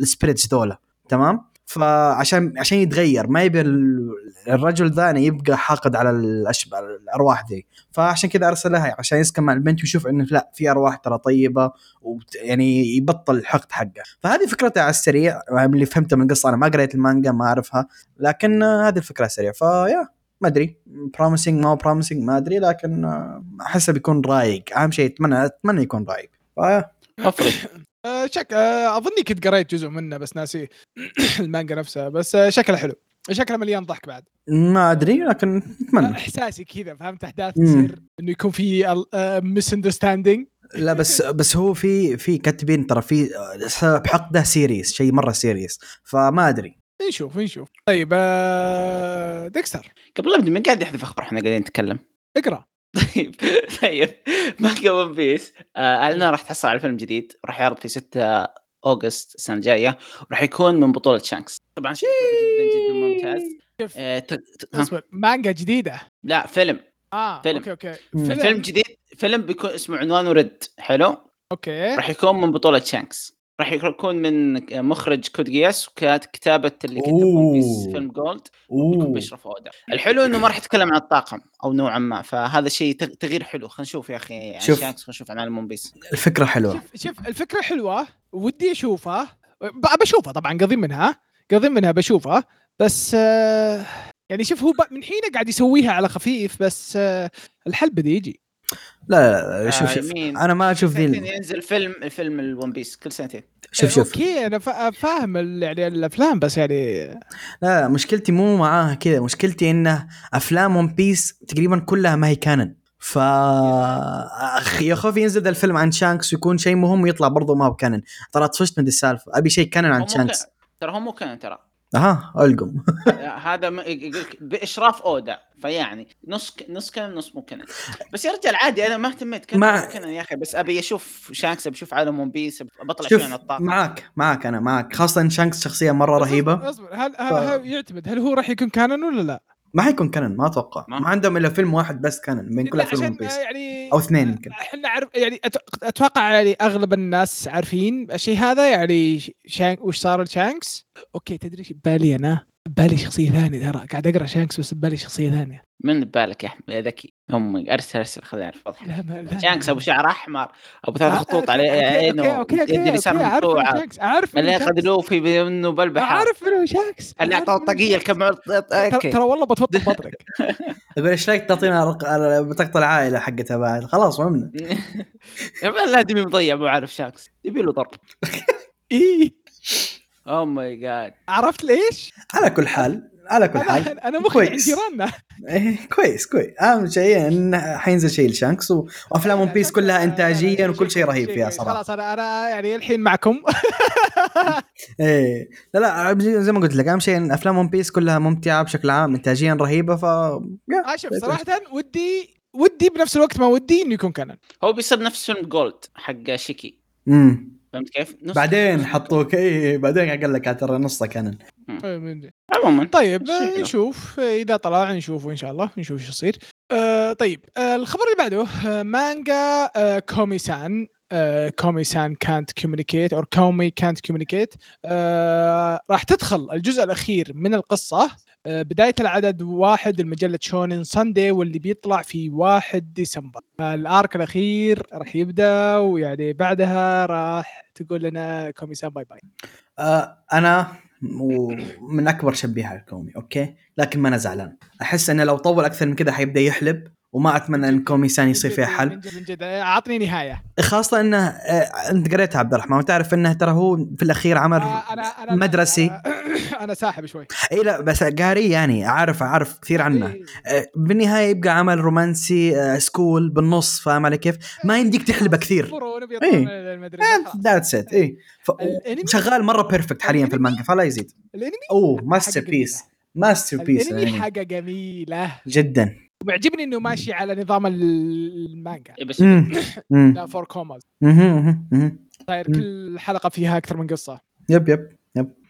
[SPEAKER 2] السبيريتس ذولا تمام فعشان عشان يتغير ما يبي ال- الرجل ذا انه يبقى حاقد على الأشب... على الارواح ذي فعشان كذا ارسلها عشان يسكن مع البنت ويشوف انه لا في ارواح ترى طيبه وبت... يعني يبطل الحقد حقه فهذه فكرتها على السريع اللي فهمته من القصه انا ما قريت المانجا ما اعرفها لكن آه، هذه الفكره سريع فيا ما ادري بروميسنج ما بروميسنج ما ادري لكن آه، احسه بيكون رايق اهم شيء اتمنى اتمنى يكون رايق فيا
[SPEAKER 3] افرض
[SPEAKER 1] آه، شك آه، اظني كنت قريت جزء منه بس ناسي [coughs] المانجا نفسها بس آه، شكله حلو شكله مليان ضحك بعد
[SPEAKER 2] ما ادري لكن
[SPEAKER 1] آه،
[SPEAKER 2] اتمنى
[SPEAKER 1] [laughs] احساسي كذا فهمت احداث
[SPEAKER 2] مم.
[SPEAKER 1] تصير انه يكون في آه، مس اندرستاندينج
[SPEAKER 2] لا بس بس هو في في كاتبين ترى في سبب حقده سيريس شيء مره سيريس فما ادري
[SPEAKER 1] نشوف نشوف طيب آه، ديكستر
[SPEAKER 3] قبل لا ابدا من قاعد يحذف اخبار احنا قاعدين نتكلم
[SPEAKER 1] اقرا
[SPEAKER 3] طيب طيب مانجا ون بيس اعلنوا آه، راح تحصل على فيلم جديد راح يعرض في 6 اوغست السنه الجايه وراح يكون من بطوله شانكس طبعا شكله جدا جدا ممتاز
[SPEAKER 1] شوف
[SPEAKER 3] آه، ت- ت- ها.
[SPEAKER 1] اصبر مانجا جديده
[SPEAKER 3] لا فيلم
[SPEAKER 1] اه
[SPEAKER 3] فيلم.
[SPEAKER 1] اوكي اوكي
[SPEAKER 2] مم.
[SPEAKER 1] فيلم.
[SPEAKER 3] فيلم جديد فيلم بيكون اسمه عنوانه ريد حلو
[SPEAKER 1] اوكي
[SPEAKER 3] راح يكون من بطوله شانكس راح يكون من مخرج كود جياس وكانت كتابه اللي كتب ون بيس
[SPEAKER 2] أوه.
[SPEAKER 3] فيلم جولد يكون
[SPEAKER 2] اوه
[SPEAKER 3] بيشرف اودا الحلو انه ما راح يتكلم عن الطاقم او نوعا ما فهذا شيء تغ- تغيير حلو خلينا نشوف يا اخي عن
[SPEAKER 2] شوف.
[SPEAKER 3] شانكس خلينا نشوف عن المون بيس
[SPEAKER 2] الفكره حلوه
[SPEAKER 1] شوف شوف الفكره حلوه ودي اشوفها ب- بشوفها طبعا قضي منها قضي منها بشوفها بس آه، يعني شوف هو ب- من حينه قاعد يسويها على خفيف بس آه، الحل بده يجي
[SPEAKER 2] لا لا, لا شوف
[SPEAKER 3] آه،
[SPEAKER 2] شوف
[SPEAKER 3] يمين.
[SPEAKER 2] انا ما اشوف ذي
[SPEAKER 3] سنتين
[SPEAKER 2] ال-
[SPEAKER 3] ينزل فيلم الفيلم الون بيس كل سنتين
[SPEAKER 2] شوف شوف
[SPEAKER 1] اوكي انا فا- فاهم ال- يعني الافلام بس يعني
[SPEAKER 2] لا لا، مشكلتي مو معاها كذا مشكلتي انه افلام ون بيس تقريبا كلها ما هي كانن ف أخ- يا خوفي ينزل ذا الفيلم عن شانكس ويكون شيء مهم ويطلع برضه ما هو كانن ترى طفشت من ذي السالفه ابي شيء كانن
[SPEAKER 3] هو
[SPEAKER 2] عن
[SPEAKER 3] مو كان-
[SPEAKER 2] شانكس
[SPEAKER 3] ترى هو مو كان ترى
[SPEAKER 2] [laughs]
[SPEAKER 3] آه،
[SPEAKER 2] اها القم
[SPEAKER 3] هذا م- يقولك باشراف اودا فيعني نص ك- نص كان نص مو كان بس يا رجال عادي انا ما اهتميت كان
[SPEAKER 2] مع-
[SPEAKER 3] مع... يا اخي بس ابي اشوف شانكس ابي اشوف عالم ون بيس أبي بطلع شوي
[SPEAKER 2] [laughs] شوف
[SPEAKER 3] عن الطاقه
[SPEAKER 2] معاك معاك انا معاك خاصه ان شانكس شخصيه
[SPEAKER 3] [laughs]
[SPEAKER 2] مره رهيبه
[SPEAKER 1] اصبر اصبر هل, هل, هل يعتمد هل هو راح يكون كانون ولا لا؟
[SPEAKER 2] ما حيكون كانن ما اتوقع
[SPEAKER 3] ما-
[SPEAKER 2] ما, عندهم الا فيلم واحد بس كانن بين كل
[SPEAKER 1] لا،
[SPEAKER 2] افلام ون
[SPEAKER 1] عشان
[SPEAKER 2] بيس
[SPEAKER 1] آه، يعني
[SPEAKER 2] او اثنين يمكن
[SPEAKER 1] احنا عارف يعني أت- اتوقع يعني اغلب الناس عارفين الشيء هذا يعني ش- شانك وش صار لشانكس اوكي تدري ايش ببالي انا ببالي شخصيه ثانيه ترى قاعد اقرا شانكس بس ببالي شخصيه ثانيه
[SPEAKER 3] من بالك يا احمد يا ذكي امي ارسل ارسل خليني اعرف واضح
[SPEAKER 1] لا ما لا
[SPEAKER 3] شانكس ابو شعر احمر ابو ثلاث
[SPEAKER 1] آه،
[SPEAKER 3] خطوط
[SPEAKER 1] أوكي،
[SPEAKER 3] عليه يعني
[SPEAKER 1] اوكي
[SPEAKER 3] عينه
[SPEAKER 1] اوكي
[SPEAKER 3] يد
[SPEAKER 1] اوكي اوكي
[SPEAKER 3] اليسار
[SPEAKER 1] أعرف إنه
[SPEAKER 3] مقطوعه
[SPEAKER 1] شانكس اعرف إنه
[SPEAKER 3] اللي اخذ
[SPEAKER 1] شانكس.
[SPEAKER 3] لوفي منه بالبحر
[SPEAKER 1] اعرف انه شانكس
[SPEAKER 3] اللي
[SPEAKER 1] أعرف
[SPEAKER 3] اعطاه
[SPEAKER 1] إنه
[SPEAKER 3] الطاقيه
[SPEAKER 1] شانكس.
[SPEAKER 3] الكم [laughs] عرض
[SPEAKER 1] ترى ترى
[SPEAKER 3] اوكي
[SPEAKER 1] والله بتوطي
[SPEAKER 3] [laughs]
[SPEAKER 1] بطرك
[SPEAKER 2] اقول ايش رايك تعطينا رق... بطاقه العائله حقتها بعد خلاص فهمنا
[SPEAKER 3] لا دمي مضيع مو عارف شانكس يبي له ضرب Oh
[SPEAKER 1] اي
[SPEAKER 3] او ماي جاد
[SPEAKER 1] إيه. عرفت ليش؟
[SPEAKER 2] على كل حال على
[SPEAKER 3] طيب.
[SPEAKER 2] كل حال
[SPEAKER 1] انا انا مخي عند
[SPEAKER 2] كويس.
[SPEAKER 1] جيراننا
[SPEAKER 2] إيه كويس كويس اهم شيء انه حينزل شيء لشانكس و-
[SPEAKER 1] [laughs]
[SPEAKER 2] وافلام ون بيس كلها انتاجيا وكل شيء رهيب فيها
[SPEAKER 1] كويس.
[SPEAKER 2] صراحه
[SPEAKER 1] خلاص انا انا يعني الحين معكم
[SPEAKER 2] ايه لا لا زي- زي ما قلت لك اهم شيء ان افلام ون بيس كلها ممتعه بشكل عام انتاجيا رهيبه ف يا.
[SPEAKER 1] آه، شوف صراحه ودي ودي بنفس الوقت ما ودي انه يكون كانون
[SPEAKER 3] هو بيصير نفس فيلم جولد حق شيكي
[SPEAKER 2] امم
[SPEAKER 3] فهمت كيف؟ نص
[SPEAKER 2] بعدين حطوك اي بعدين قال لك ترى نصه كان
[SPEAKER 3] عموما
[SPEAKER 1] طيب
[SPEAKER 3] شيء
[SPEAKER 1] آه،
[SPEAKER 3] حلو.
[SPEAKER 1] نشوف آه، اذا طلع نشوفه ان شاء الله نشوف ايش يصير آه طيب آه الخبر اللي بعده آه مانجا آه كومي سان آه كومي سان كانت كوميونيكيت او كومي كانت كوميونيكيت آه، راح تدخل الجزء الاخير من القصه آه بدايه العدد واحد لمجله شونين ساندي واللي بيطلع في 1 ديسمبر الارك الاخير راح يبدا ويعني بعدها راح تقول لنا كومي سان باي باي
[SPEAKER 2] آه انا و- من اكبر شبيحه الكومي اوكي لكن ما انا زعلان احس انه لو طول اكثر من كذا حيبدا يحلب وما اتمنى ان كومي سان يصير فيها حل
[SPEAKER 1] من جد من جد آه، عطني نهايه
[SPEAKER 2] خاصه انه آه، انت قريتها عبد الرحمن وتعرف انه ترى هو في الاخير عمل
[SPEAKER 1] آه، أنا- أنا-
[SPEAKER 2] مدرسي
[SPEAKER 1] [coughs] أنا- انا ساحب شوي
[SPEAKER 2] اي لا بس قاري يعني عارف عارف كثير عنه
[SPEAKER 1] إيه.
[SPEAKER 2] آه، بالنهايه يبقى عمل رومانسي آه، سكول بالنص فاهم علي كيف؟ ما يمديك تحلبه كثير
[SPEAKER 1] يصبرون
[SPEAKER 2] إيه.
[SPEAKER 1] وبيطلعون المدرسة. خلاص.
[SPEAKER 2] ذاتس ات اي ف-
[SPEAKER 1] الأنمي-
[SPEAKER 2] شغال مره بيرفكت حاليا في المانجا فلا يزيد
[SPEAKER 1] الانمي
[SPEAKER 2] اوه ماستر
[SPEAKER 1] حاجة جميلة.
[SPEAKER 2] بيس ماستر بيس
[SPEAKER 1] الانمي حاجه جميله [coughs]
[SPEAKER 2] جدا
[SPEAKER 1] ومعجبني انه ماشي على نظام المانجا
[SPEAKER 3] إيه بس
[SPEAKER 2] مم. مم.
[SPEAKER 1] لا فور كوماز
[SPEAKER 2] مهم، مهم، مهم.
[SPEAKER 1] صاير
[SPEAKER 2] مم.
[SPEAKER 1] كل حلقه فيها اكثر من قصه
[SPEAKER 2] يب يب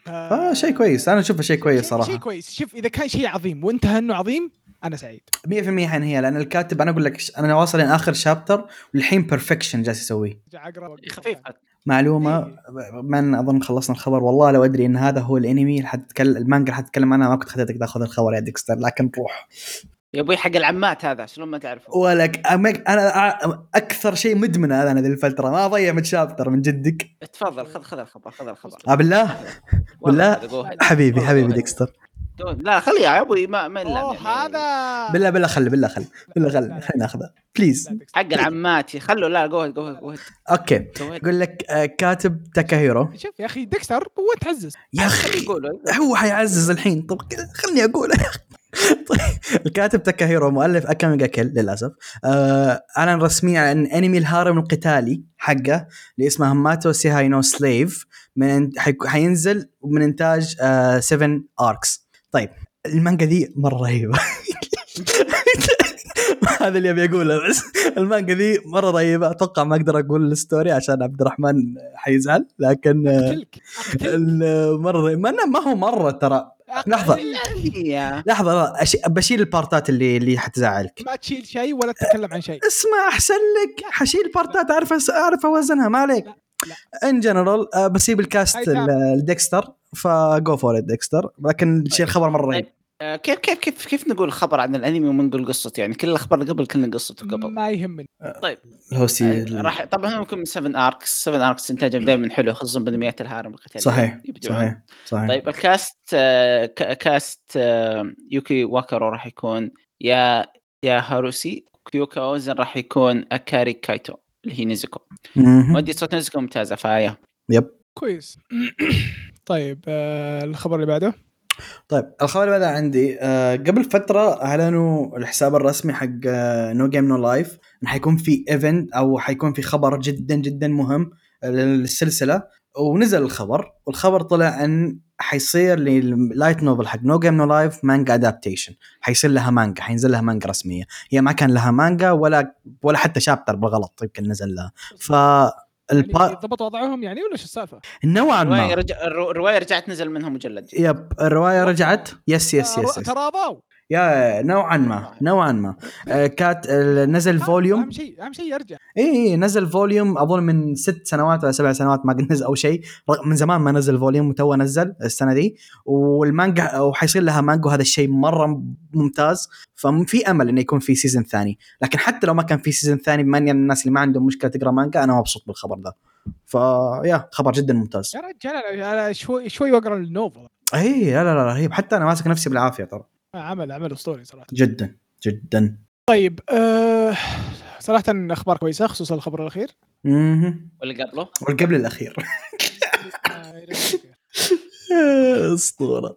[SPEAKER 1] ف-
[SPEAKER 2] آه شيء كويس انا اشوفه شيء كويس
[SPEAKER 1] شيء-
[SPEAKER 2] صراحه
[SPEAKER 1] شيء كويس شوف اذا كان شيء عظيم وانتهى انه عظيم انا سعيد
[SPEAKER 2] 100% حينهيها لان الكاتب انا اقول لك ش- انا واصل لين اخر شابتر والحين بيرفكشن جالس يسويه
[SPEAKER 1] ارجع اقرا وأقول
[SPEAKER 3] خفيف
[SPEAKER 1] كمان.
[SPEAKER 2] معلومه
[SPEAKER 1] إيه.
[SPEAKER 2] من اظن خلصنا الخبر والله لو ادري ان هذا هو الانمي اللي حتتكلم المانجا اللي حتتكلم عنها ما كنت خليتك تاخذ الخبر يا ديكستر لكن روح
[SPEAKER 3] يا ابوي حق العمات هذا شلون ما تعرفه
[SPEAKER 2] ولك أمك- انا أع- اكثر شيء مدمن انا ذي الفتره ما اضيع من شابتر من جدك
[SPEAKER 3] تفضل خذ خذ الخبر خذ الخبر
[SPEAKER 2] آه بالله بالله؟
[SPEAKER 3] والله خذ، go ahead.
[SPEAKER 2] حبيبي
[SPEAKER 3] والله
[SPEAKER 2] حبيبي
[SPEAKER 3] go ahead.
[SPEAKER 2] ديكستر
[SPEAKER 3] Don't- لا خليه يا ابوي ما ما
[SPEAKER 1] اوه
[SPEAKER 3] يعني-
[SPEAKER 1] هذا
[SPEAKER 2] بالله بالله خل بالله خل بالله
[SPEAKER 1] لا، لا،
[SPEAKER 2] خل
[SPEAKER 1] لا.
[SPEAKER 2] [laughs] خلينا ناخذه بليز
[SPEAKER 1] لا تكسر.
[SPEAKER 3] حق العمات خلوا لا جو جو جو
[SPEAKER 2] اوكي [laughs] يقول لك آه، كاتب تاكاهيرو
[SPEAKER 1] شوف يا اخي ديكستر هو تعزز
[SPEAKER 2] يا اخي
[SPEAKER 3] يقولوا
[SPEAKER 2] هو حيعزز الحين طب ك- خلني اقول [laughs] طيب الكاتب تاكاهيرو مؤلف اكامي جا كيل للاسف آه، اعلن رسميا عن انمي الهارم القتالي حقه اللي اسمه هماتو سيهاي نو سليف من حيك- حينزل من انتاج 7 اركس طيب المانجا دي مره [laughs] رهيبه هذا اللي ابي اقوله بس المانجا دي مره رهيبه اتوقع ما اقدر اقول الستوري عشان عبد الرحمن حيزعل لكن آه،
[SPEAKER 1] قتلك أقتلك.
[SPEAKER 2] ال- مره ما أنا- ما هو مره ترى [laughs] لحظة.
[SPEAKER 3] يا
[SPEAKER 2] لحظه لا، أش- بشيل البارتات اللي اللي حتزعلك
[SPEAKER 1] ما تشيل شيء ولا تتكلم عن شيء
[SPEAKER 2] اسمع احسن لك حشيل بارتات اعرف أس- اعرف اوزنها ما عليك
[SPEAKER 1] لا،
[SPEAKER 2] ان جنرال آه، بسيب الكاست
[SPEAKER 1] هاي تام.
[SPEAKER 2] ال- الديكستر فجو فور ديكستر لكن شيء الخبر مره رهيب
[SPEAKER 3] آه، كيف كيف كيف كيف نقول خبر عن الانمي وما نقول قصته يعني كل الاخبار اللي قبل كلنا قصته قبل
[SPEAKER 1] ما يهمني
[SPEAKER 2] الهوسي
[SPEAKER 3] آه، راح طبعا هو يكون من 7 اركس 7 اركس انتاجهم دائما حلو خصوصا بانميات الهارم القتالي
[SPEAKER 2] صحيح
[SPEAKER 3] يبدعون.
[SPEAKER 2] صحيح صحيح
[SPEAKER 3] طيب الكاست آه، ك- كاست آه، يوكي واكارو راح يكون يا يا هاروسي كيوكا اوزن راح يكون اكاري كايتو اللي هي نيزوكو
[SPEAKER 2] مهم.
[SPEAKER 3] مؤدي صوت نيزوكو ممتازه فيا
[SPEAKER 1] كويس [clears throat] طيب آه الخبر اللي بعده
[SPEAKER 2] طيب الخبر اللي بعده عندي آه قبل فتره اعلنوا الحساب الرسمي حق آه، نو جيم نو لايف انه حيكون في ايفنت او حيكون في خبر جدا جدا مهم للسلسله ونزل الخبر والخبر طلع ان حيصير لللايت نوفل حق نو جيم نو لايف مانجا ادابتيشن حيصير لها مانجا حينزل لها مانجا رسميه هي ما كان لها مانجا ولا ولا حتى شابتر بالغلط يمكن نزل لها ف
[SPEAKER 1] يعني
[SPEAKER 2] البا...
[SPEAKER 1] ضبط وضعهم يعني ولا شو السالفه؟
[SPEAKER 2] نوعا
[SPEAKER 3] الروايه
[SPEAKER 2] ما
[SPEAKER 3] رجع الرو- الروايه رجعت نزل منها مجلد
[SPEAKER 2] يب الروايه رجعت يس يس
[SPEAKER 1] آه،
[SPEAKER 2] يس, يس.
[SPEAKER 1] تراضوا
[SPEAKER 2] يا نوعا ما نوعا ما آه، كات آه، نزل
[SPEAKER 1] اهم
[SPEAKER 2] فوليوم
[SPEAKER 1] شيء اهم شيء يرجع
[SPEAKER 2] اي إي، نزل فوليوم اظن من ست سنوات ولا سبع سنوات ما قد نزل او شيء رغم- من زمان ما نزل فوليوم وتوه نزل السنه دي والمانجا وحيصير لها مانجا وهذا الشيء مره ممتاز ففي امل انه يكون في سيزون ثاني لكن حتى لو ما كان في سيزون ثاني بما اني من الناس اللي ما عندهم مشكله تقرا مانجا انا مبسوط بالخبر ذا فيا خبر جدا ممتاز
[SPEAKER 1] يا رجال انا أنا شوي شوي واقرا النوفل
[SPEAKER 2] اي لا لا لا رهيب حتى انا ماسك نفسي بالعافيه ترى
[SPEAKER 1] عمل عمل اسطوري صراحه
[SPEAKER 2] جدا جدا
[SPEAKER 1] طيب آه صراحه اخبار كويسه خصوصا الخبر
[SPEAKER 2] [laughs]
[SPEAKER 1] الاخير
[SPEAKER 2] مهم.
[SPEAKER 3] واللي قبله
[SPEAKER 2] والقبل الاخير
[SPEAKER 1] آه،
[SPEAKER 2] اسطوره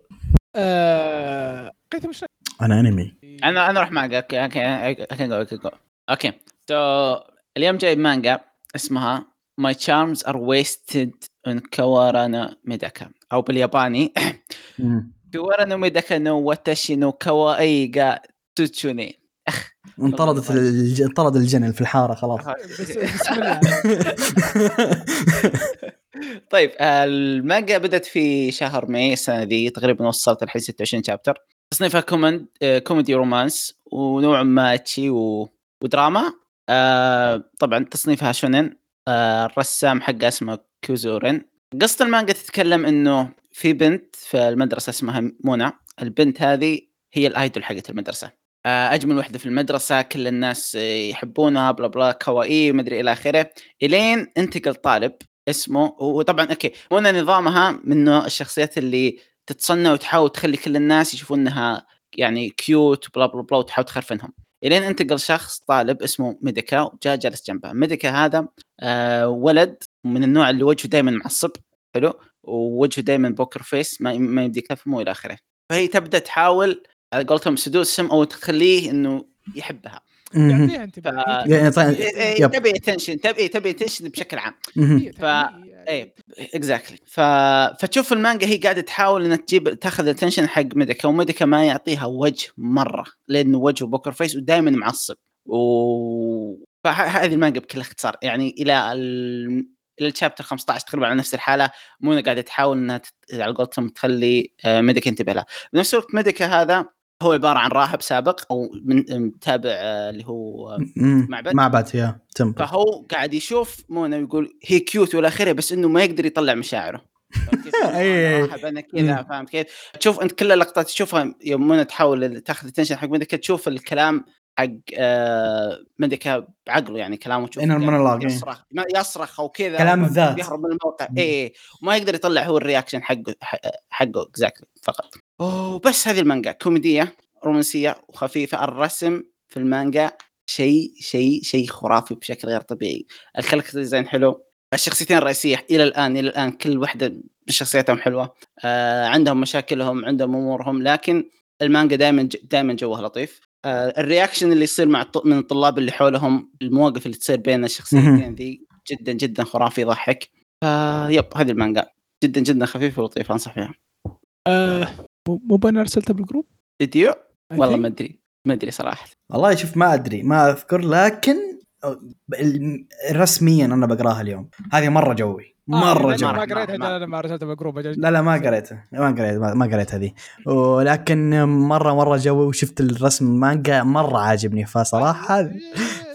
[SPEAKER 1] آه قيثم ايش رأيك؟
[SPEAKER 2] انا انمي
[SPEAKER 3] انا انا اروح معك اوكي اوكي اوكي اوكي اوكي اوكي تو اليوم جايب مانجا اسمها My charms are wasted on Kawarana Medaka او بالياباني [laughs] Kawarana Medaka no watashi no kawaii ga tutsune
[SPEAKER 2] انطردت الج... انطرد الجنل في الحاره خلاص
[SPEAKER 1] بس بسم الله
[SPEAKER 3] طيب آه، المانجا بدأت في شهر ماي السنة دي تقريبا وصلت الحين 26 شابتر تصنيفها كومند آه، كوميدي رومانس ونوع ما تشي و... ودراما آه، طبعا تصنيفها شونن آه، الرسام حقها اسمه كوزورين قصة المانجا تتكلم انه في بنت في المدرسة اسمها منى البنت هذه هي الايدول حقت المدرسة آه، اجمل وحده في المدرسه كل الناس آه، يحبونها بلا بلا كوائي مدري الى اخره الين انتقل طالب اسمه وطبعا اوكي وانا نظامها منه الشخصيات اللي تتصنع وتحاول تخلي كل الناس يشوفون انها يعني كيوت بلا بلا بلا وتحاول تخرفنهم الين انتقل شخص طالب اسمه ميديكا وجاء جلس جنبها ميديكا هذا آه ولد من النوع اللي وجهه دائما معصب حلو ووجهه دائما بوكر فيس ما, ما يمديك تفهمه والى اخره فهي تبدا تحاول على قولتهم سدوسهم او تخليه انه يحبها
[SPEAKER 2] [laughs]
[SPEAKER 1] يعطيها انتباه
[SPEAKER 3] ف-
[SPEAKER 2] يعني طيب
[SPEAKER 1] آه،
[SPEAKER 3] إيه، إيه،
[SPEAKER 2] يب.
[SPEAKER 3] تبي اتنشن تبي تبي اتنشن بشكل عام
[SPEAKER 2] مهم.
[SPEAKER 1] يعطيها
[SPEAKER 3] ف-
[SPEAKER 1] تنبيه.
[SPEAKER 3] ايه اكزاكتلي ف... فتشوف المانجا هي قاعده تحاول انها تجيب تاخذ الاتنشن حق ميديكا وميديكا ما يعطيها وجه مره لانه وجهه بوكر فيس ودائما معصب و فهذه المانجا بكل اختصار يعني الى ال... الى الشابتر 15 تقريبا على نفس الحاله مونا قاعده تحاول انها تت... على قولتهم تخلي آه، ميديكا ينتبه لها بنفس الوقت ميديكا هذا هو عباره عن راهب سابق او من متابع آه، اللي هو آه،
[SPEAKER 2] مم.
[SPEAKER 3] معبد.
[SPEAKER 2] معبد يا تمبل
[SPEAKER 3] فهو قاعد يشوف منى ويقول هي كيوت والى اخره بس انه ما يقدر يطلع مشاعره فاهم كيف؟
[SPEAKER 2] [laughs] إيه.
[SPEAKER 3] مرحبا انا كذا فاهم كيف؟ تشوف انت كل اللقطات تشوفها يوم منى تحاول تاخذ التنشن حق ميديكا تشوف الكلام حق آه ميديكا بعقله يعني كلامه تشوف
[SPEAKER 2] إن
[SPEAKER 3] قاعد
[SPEAKER 2] المونولوج، إيه.
[SPEAKER 3] يصرخ ما- يصرخ وكذا
[SPEAKER 2] كلام الذات.
[SPEAKER 3] يهرب من الموقع اي وما يقدر يطلع هو الرياكشن حقه ح- حقه اكزاكتلي فقط وبس هذه المانجا كوميديه رومانسيه وخفيفه الرسم في المانجا شيء شيء شيء خرافي بشكل غير طبيعي الكاركتر ديزاين حلو الشخصيتين الرئيسيه الى الان الى الان كل واحده من شخصياتهم حلوه آه عندهم مشاكلهم عندهم امورهم لكن المانجا دائما دائما جوها لطيف آه الرياكشن اللي يصير مع الط- من الطلاب اللي حولهم المواقف اللي تصير بين الشخصيتين ذي جدا جدا خرافي يضحك آه يب هذه المانجا جدا جدا خفيفه ولطيفه انصح فيها
[SPEAKER 1] مو آه، مو انا ارسلتها بالجروب
[SPEAKER 3] ديديو
[SPEAKER 1] I
[SPEAKER 3] والله
[SPEAKER 1] think.
[SPEAKER 3] ما ادري ما ادري صراحه
[SPEAKER 2] والله شوف ما ادري ما اذكر لكن رسميا انا بقراها اليوم هذه مره جوي مره
[SPEAKER 1] آه،
[SPEAKER 2] جوي
[SPEAKER 1] أنا ما
[SPEAKER 3] جميل.
[SPEAKER 1] قريتها
[SPEAKER 3] مرة.
[SPEAKER 1] انا ما ارسلتها بالجروب أجل.
[SPEAKER 2] لا لا ما قريتها ما قريت ما ما قريت هذه ولكن مره مره جوي وشفت الرسم مانجا مره عاجبني فصراحه
[SPEAKER 1] إيه،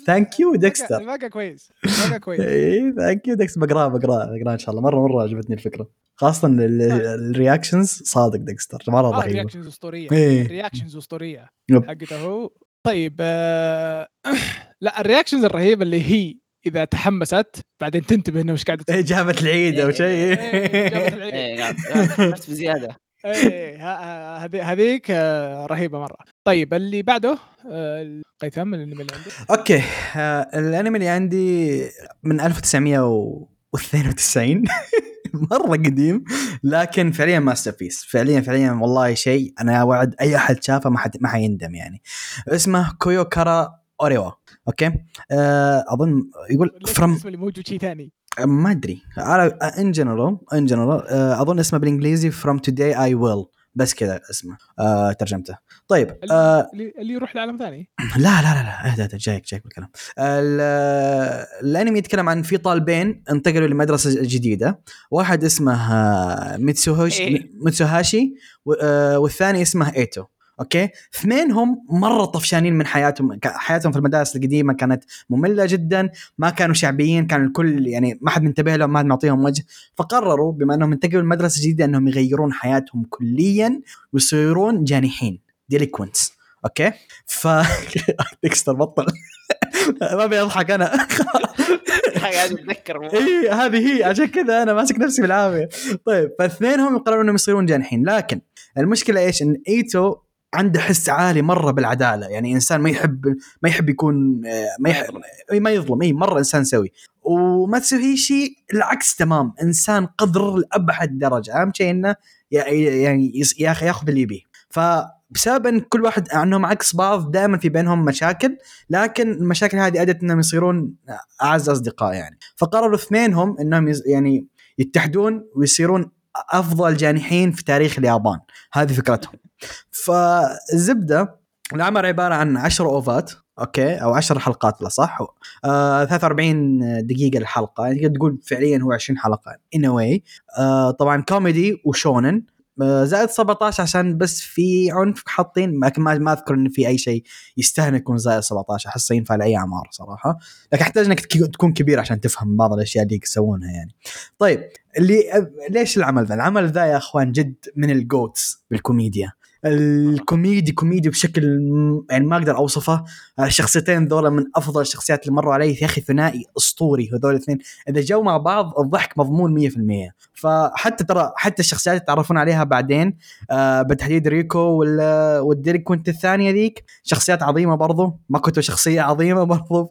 [SPEAKER 2] ثانك يو ديكستر
[SPEAKER 1] المانجا كويس المانجا
[SPEAKER 2] [laughs]
[SPEAKER 1] كويس
[SPEAKER 2] اي ثانك يو ديكستر بقراها بقراها بقراها ان شاء الله مره مره عجبتني الفكره خاصه ال- ال- الرياكشنز صادق ديكستر مره
[SPEAKER 1] آه،
[SPEAKER 2] رهيبه
[SPEAKER 1] رياكشنز اسطوريه
[SPEAKER 2] ايه
[SPEAKER 1] رياكشنز اسطوريه
[SPEAKER 2] يب.
[SPEAKER 1] حقته هو طيب آه، [clears throat] لا الرياكشنز الرهيبه اللي هي اذا تحمست بعدين تنتبه انه وش قاعده تسوي.
[SPEAKER 2] إيه، جابت العيد او شيء [laughs]
[SPEAKER 1] إيه، جابت العيد.
[SPEAKER 3] ايه قاعد- قاعد بس بزياده
[SPEAKER 1] ايه ه- ه- هذي- هذيك آه، رهيبه مره طيب اللي بعده آه، قيثم الانمي اللي عندك
[SPEAKER 2] اوكي آه، الانمي اللي عندي من [laughs] 1992 مره قديم لكن فعليا ماستر بيس فعليا فعليا والله شيء انا اوعد اي احد شافه ما حد ما حيندم يعني اسمه كويوكارا اوريوا اوكي آه اظن يقول
[SPEAKER 1] ليش
[SPEAKER 2] فروم
[SPEAKER 1] الاسم اللي موجود شيء ثاني
[SPEAKER 2] ما ادري ان جنرال ان جنرال اظن آه، اسمه بالانجليزي فروم today اي ويل بس كذا اسمه آه ترجمته طيب آه
[SPEAKER 1] اللي اللي يروح لعالم ثاني
[SPEAKER 2] لا لا لا لا اهدى اهدى جايك جايك بالكلام ال- الانمي يتكلم عن في طالبين انتقلوا لمدرسه جديده واحد اسمه آه، ميتسوهوشي
[SPEAKER 3] إيه.
[SPEAKER 2] ميتسوهاشي و- آه، والثاني اسمه ايتو اوكي اثنين هم مره طفشانين من حياتهم ك- حياتهم في المدارس القديمه كانت ممله جدا ما كانوا شعبيين كان الكل يعني ما حد منتبه لهم ما حد معطيهم وجه فقرروا بما انهم انتقلوا لمدرسه جديده انهم يغيرون حياتهم كليا ويصيرون جانحين ديليكوينتس اوكي ف [laughs] ديكستر بطل [laughs] ما بيضحك [laughs] انا
[SPEAKER 3] قاعد اتذكر
[SPEAKER 2] اي إيه، هذه هي عشان كذا انا ماسك نفسي بالعافيه طيب فاثنينهم قرروا انهم يصيرون جانحين لكن المشكله ايش ان ايتو عنده حس عالي مره بالعداله يعني انسان ما يحب ما يحب يكون آه، ما يحب إي ما يظلم اي مره انسان سوي وما تسوي شيء العكس تمام انسان قذر لابعد درجه اهم شيء انه يا- يعني يس- يا اخي ياخذ اللي يبيه فبسبب ان كل واحد عنهم عكس بعض دائما في بينهم مشاكل لكن المشاكل هذه ادت انهم يصيرون اعز اصدقاء يعني فقرروا اثنينهم انهم يز- يعني يتحدون ويصيرون افضل جانحين في تاريخ اليابان هذه فكرتهم فالزبده العمل عباره عن 10 اوفات اوكي او 10 حلقات لا صح آه 43 دقيقه الحلقه يعني تقدر تقول فعليا هو 20 حلقه ان واي آه طبعا كوميدي وشونن آه، زائد 17 عشان بس في عنف حاطين لكن ما ما اذكر ان في اي شيء يستاهل يكون زائد 17 احسه ينفع لاي اعمار صراحه لكن احتاج انك تك- تكون كبير عشان تفهم بعض الاشياء اللي يسوونها يعني طيب اللي ليش العمل ذا العمل ذا يا اخوان جد من الجوتس بالكوميديا الكوميدي كوميدي بشكل م- يعني ما اقدر اوصفه الشخصيتين آه، ذولا من افضل الشخصيات اللي مروا علي يا اخي ثنائي اسطوري هذول الاثنين اذا جو مع بعض الضحك مضمون 100% فحتى ترى حتى الشخصيات اللي تعرفون عليها بعدين آه بالتحديد ريكو وال- والديريكونت الثانيه ذيك شخصيات عظيمه برضو ماكوتو شخصيه عظيمه برضو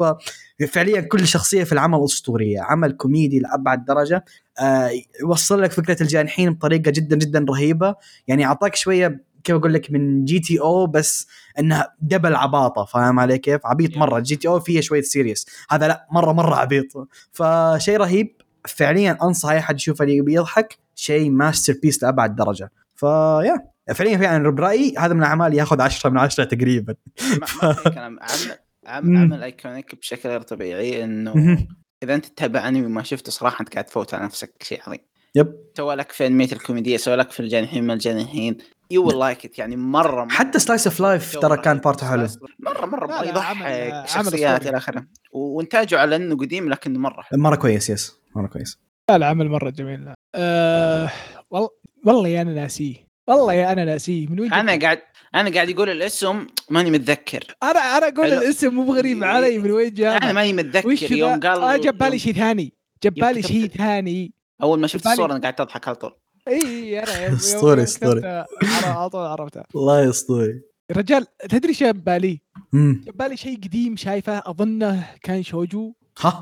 [SPEAKER 2] ففعليا كل شخصيه في العمل اسطوريه عمل كوميدي لابعد درجه آه يوصل لك فكره الجانحين بطريقه جدا جدا رهيبه يعني اعطاك شويه كيف اقول لك من جي تي او بس انها دبل عباطه فاهم علي كيف؟ عبيط مره جي تي او فيها شويه سيريس هذا لا مره مره عبيط فشيء رهيب فعليا انصح اي احد يشوفه يبي يضحك شيء ماستر بيس لابعد درجه فيا فعليا فعلا برايي هذا من الاعمال ياخذ 10 من 10 [laughs] تقريبا
[SPEAKER 3] ما ما في كلام عمل عم-
[SPEAKER 2] مم.
[SPEAKER 3] عمل ايكونيك بشكل غير طبيعي انه اذا انت تتابع انمي وما شفته صراحه انت قاعد تفوت على نفسك شيء عظيم
[SPEAKER 2] يب.
[SPEAKER 3] سوى لك في انميات الكوميديا سوى لك في الجانحين ما الجانحين يو ويل لايك ات يعني مره, مرة
[SPEAKER 2] حتى سلايس اوف لايف ترى كان بارته حلو
[SPEAKER 3] مره مره
[SPEAKER 1] لا، لا، عمل-
[SPEAKER 3] يضحك
[SPEAKER 1] عمل
[SPEAKER 3] شخصيات
[SPEAKER 1] أسطوري.
[SPEAKER 3] الى اخره و- وانتاجه على انه قديم لكنه مره حلو
[SPEAKER 2] مره كويس يس مره كويس
[SPEAKER 1] لا العمل مره جميل لا. أه والله والله يا انا ناسيه والله يا انا ناسيه من وين
[SPEAKER 3] انا
[SPEAKER 1] جبت-
[SPEAKER 3] قاعد انا قاعد يقول الاسم ماني متذكر
[SPEAKER 1] انا انا اقول
[SPEAKER 3] حلو.
[SPEAKER 1] الاسم مو بغريب
[SPEAKER 3] يعني
[SPEAKER 1] علي من وين جاء
[SPEAKER 3] انا ماني
[SPEAKER 1] وش
[SPEAKER 3] متذكر
[SPEAKER 1] ذا؟
[SPEAKER 3] يوم قال
[SPEAKER 1] آه جاب بالي
[SPEAKER 3] يوم-
[SPEAKER 1] شيء ثاني جاب
[SPEAKER 3] يوم
[SPEAKER 1] بالي
[SPEAKER 3] [laughs]
[SPEAKER 1] شيء
[SPEAKER 3] كتبت-
[SPEAKER 1] ثاني
[SPEAKER 3] اول ما شفت
[SPEAKER 1] بالي-
[SPEAKER 3] الصوره انا قاعد اضحك على طول [laughs]
[SPEAKER 1] اي اي انا يوم- يوم
[SPEAKER 2] أسطوري، أسطوري.
[SPEAKER 1] كتبتها عر- على طول عرفتها
[SPEAKER 2] والله اسطوري
[SPEAKER 1] يا رجال تدري شو جاب بالي؟ جاب بالي شيء قديم شايفه اظنه كان شوجو
[SPEAKER 2] [laughs] ها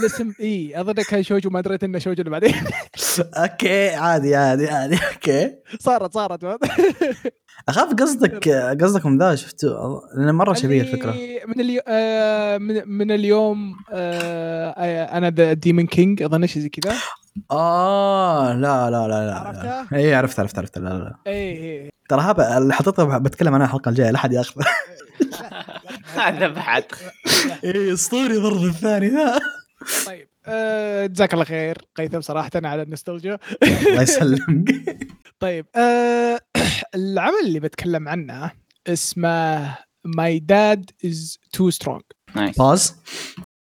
[SPEAKER 1] الاسم اي اظنه كان شوجو ما دريت انه شوجو اللي بعدين [laughs]
[SPEAKER 2] اوكي عادي عادي عادي اوكي
[SPEAKER 1] صارت صارت
[SPEAKER 2] اخاف قصدك قصدك من ذا شفته لانه مره شبيه
[SPEAKER 1] اللي
[SPEAKER 2] الفكره
[SPEAKER 1] من اليو... آه من... من اليوم آه آه، انا ذا ديمون كينج اظن شيء زي كذا
[SPEAKER 2] اه لا لا لا إيه، لا
[SPEAKER 1] عرفتها؟
[SPEAKER 2] اي عرفت عرفت عرفت لا لا, لا.
[SPEAKER 1] اي اي
[SPEAKER 2] ترى هذا اللي حطيته بتكلم عنها الحلقه الجايه لا احد [laughs] ياخذه
[SPEAKER 3] هذا بعد
[SPEAKER 1] [laughs]
[SPEAKER 2] اي اسطوري برضه إيه، الثاني ذا
[SPEAKER 1] طيب آه، جزاك الله خير قيثم صراحه على النستولجيا
[SPEAKER 2] الله يسلمك
[SPEAKER 1] طيب آه [coughs] العمل اللي بتكلم عنه اسمه ماي داد از تو سترونج
[SPEAKER 3] نايس
[SPEAKER 2] باز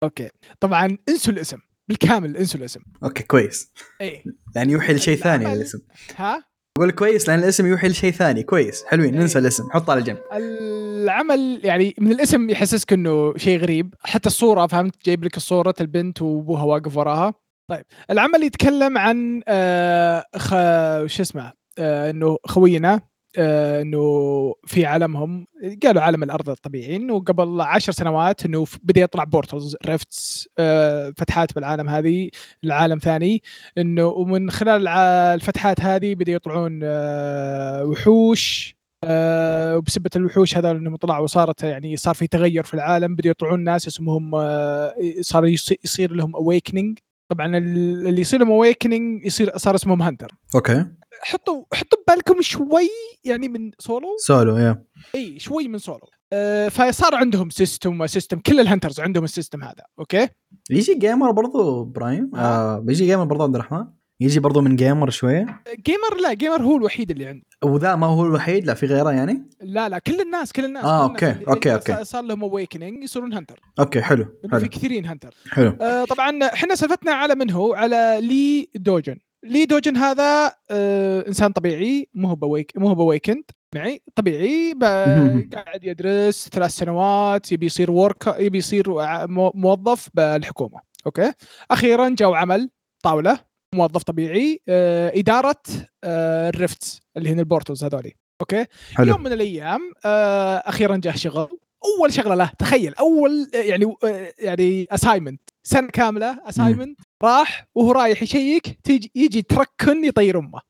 [SPEAKER 1] اوكي طبعا انسوا الاسم بالكامل انسوا الاسم
[SPEAKER 2] اوكي كويس
[SPEAKER 1] اي
[SPEAKER 2] لان يوحي لشيء ثاني
[SPEAKER 1] العمل-
[SPEAKER 2] الاسم
[SPEAKER 1] ها
[SPEAKER 2] اقول كويس لان الاسم يوحي لشيء ثاني كويس حلوين ننسى
[SPEAKER 1] إيه.
[SPEAKER 2] الاسم حطه على جنب
[SPEAKER 1] العمل يعني من الاسم يحسسك انه شيء غريب حتى الصوره فهمت جايب لك صوره البنت وابوها واقف وراها طيب العمل يتكلم عن آه خ... شو اسمه آه انه خوينا آه انه في عالمهم قالوا عالم الارض الطبيعي انه قبل عشر سنوات انه ف- بدا يطلع بورتلز ريفتس آه فتحات بالعالم هذه العالم ثاني انه ومن خلال الع- الفتحات هذه بدا يطلعون آه وحوش آه، وبسبه الوحوش هذا انهم طلعوا وصارت يعني صار في تغير في العالم بدأوا يطلعون ناس اسمهم آه، صار يص- يصير لهم اويكننج طبعا ال- اللي يصير لهم اويكننج يصير صار اسمهم هانتر
[SPEAKER 2] اوكي
[SPEAKER 1] حطوا حطوا ببالكم شوي يعني من سولو
[SPEAKER 2] سولو يا
[SPEAKER 1] اي شوي من سولو آه، فصار عندهم سيستم وسيستم كل الهنترز عندهم السيستم هذا اوكي
[SPEAKER 2] يجي جيمر برضو برايم آه بيجي جيمر برضو عبد الرحمن يجي برضو من جيمر شويه
[SPEAKER 1] جيمر لا جيمر هو الوحيد اللي عنده
[SPEAKER 2] وذا ما هو الوحيد لا في غيره يعني
[SPEAKER 1] لا لا كل الناس كل الناس كل
[SPEAKER 2] آه،
[SPEAKER 1] الناس
[SPEAKER 2] أوكي،
[SPEAKER 1] اللي-
[SPEAKER 2] أوكي،
[SPEAKER 1] اللي
[SPEAKER 2] أوكي.
[SPEAKER 1] صار- صار لهم اويكننج يصيرون هانتر
[SPEAKER 2] اوكي حلو
[SPEAKER 1] لأنه في
[SPEAKER 2] حلو
[SPEAKER 1] كثيرين هانتر
[SPEAKER 2] حلو
[SPEAKER 1] آه، طبعا احنا سالفتنا على من هو على لي دوجن لي دوجن هذا آه، انسان طبيعي مو هو بويك مو هو بويكند معي طبيعي ب-
[SPEAKER 2] مهم.
[SPEAKER 1] قاعد يدرس ثلاث سنوات يبي يصير ورك يبي يصير ع- مو- موظف بالحكومه اوكي اخيرا جو عمل طاوله موظف طبيعي آه، اداره آه، الريفتس اللي هن البورتلز هذولي اوكي
[SPEAKER 2] حلو [laughs]
[SPEAKER 1] يوم من الايام آه، اخيرا جاه شغل اول شغله له تخيل اول آه، يعني آه، يعني اسايمنت سنه كامله اسايمنت راح وهو رايح يشيك تيجي يجي تركن يطير امه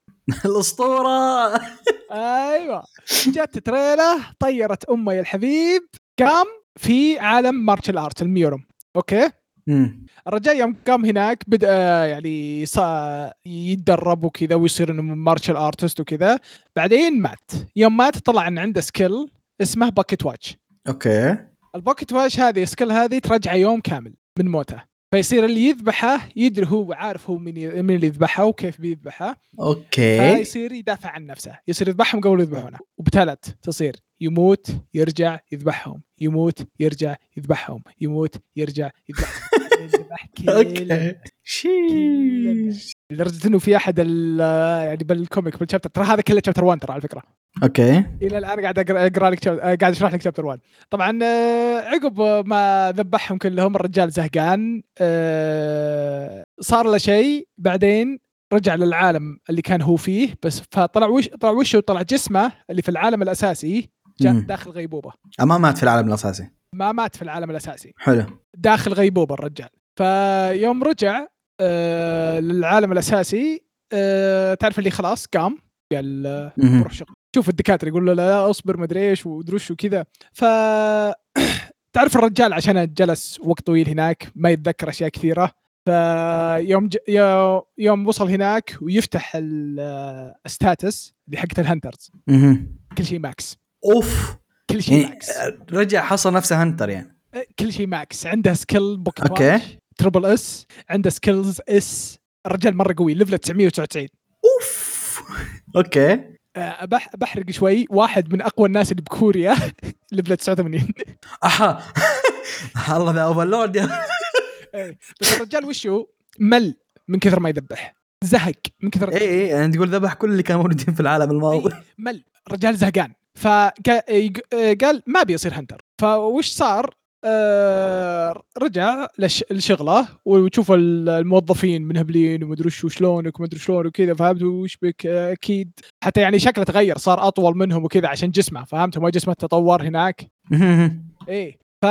[SPEAKER 2] الاسطوره
[SPEAKER 1] ايوه جت تريله طيرت امه يا الحبيب قام في عالم مارشال ارت الميورم اوكي
[SPEAKER 2] أمم.
[SPEAKER 1] الرجال يوم قام هناك بدا يعني صا- يتدرب وكذا ويصير انه مارشال ارتست وكذا بعدين مات يوم مات طلع ان عنده سكيل اسمه باكيت واتش
[SPEAKER 2] اوكي
[SPEAKER 1] الباكيت واتش هذه السكيل هذه ترجع يوم كامل من موته فيصير اللي يذبحه يدري هو عارف هو من ي- من اللي يذبحه وكيف بيذبحه
[SPEAKER 2] اوكي
[SPEAKER 1] فيصير يدافع عن نفسه يصير يذبحهم قبل يذبحونه وبتلت تصير يموت يرجع يذبحهم يموت يرجع يذبحهم يموت يرجع يذبحهم يذبح كل
[SPEAKER 2] اوكي
[SPEAKER 1] [laughs]
[SPEAKER 2] شيش
[SPEAKER 1] لدرجه انه في احد ال- يعني بالكوميك بالشابتر ترى هذا كله شابتر 1 ترى على فكره
[SPEAKER 2] اوكي
[SPEAKER 1] الى الان قاعد اقرا اقرا لك شاب- قاعد اشرح لك شابتر 1 طبعا آه، عقب ما ذبحهم كلهم الرجال زهقان آه، صار له شيء بعدين رجع للعالم اللي كان هو فيه بس فطلع وش طلع وشه وطلع جسمه اللي في العالم الاساسي جاء
[SPEAKER 2] مم.
[SPEAKER 1] داخل غيبوبه
[SPEAKER 2] ما مات في العالم الاساسي
[SPEAKER 1] ما مات في العالم الاساسي
[SPEAKER 2] حلو
[SPEAKER 1] [laughs] داخل غيبوبه الرجال فيوم رجع آه، للعالم الاساسي آه، تعرف اللي خلاص قام قال آه،
[SPEAKER 2] أمم.
[SPEAKER 1] بروح شغل شوف الدكاتره يقول له لا اصبر مدري ايش ودروش وكذا ف [coughs] تعرف الرجال عشان جلس وقت طويل هناك ما يتذكر اشياء كثيره ف فيوم ج... يو- يوم وصل هناك ويفتح ال- الستاتس اللي حقت الهنترز
[SPEAKER 2] مهم.
[SPEAKER 1] كل شيء ماكس
[SPEAKER 2] اوف
[SPEAKER 1] كل شيء
[SPEAKER 2] يعني
[SPEAKER 1] ماكس
[SPEAKER 2] رجع حصل نفسه هنتر يعني
[SPEAKER 1] كل شيء ماكس عنده سكيل بوكت
[SPEAKER 2] أوكي.
[SPEAKER 1] بانش، تربل اس عنده سكيلز اس الرجال مره قوي ليفله 999
[SPEAKER 2] اوف [laughs] اوكي
[SPEAKER 1] آه، بح- بحرق شوي واحد من اقوى الناس اللي بكوريا [laughs] ليفله 89
[SPEAKER 2] اها [laughs] الله ذا
[SPEAKER 1] [laughs]
[SPEAKER 2] اوفرلورد يا-
[SPEAKER 1] إيه، بس الرجال وش هو؟ مل من كثر ما يذبح زهق من كثر
[SPEAKER 2] اي اي يعني تقول ذبح كل اللي كانوا موجودين في العالم الماضي
[SPEAKER 1] إيه، مل الرجال زهقان فقال آه، ما ابي اصير هنتر فوش صار؟ آه، رجع لش- لشغله وتشوف ال- الموظفين منهبلين ومدري وش وشلونك ومدري شلون وكذا فهمت وش بك آه، اكيد حتى يعني شكله تغير صار اطول منهم وكذا عشان جسمه فهمت ما جسمه تطور هناك
[SPEAKER 2] [laughs] مهم.
[SPEAKER 1] ايه ف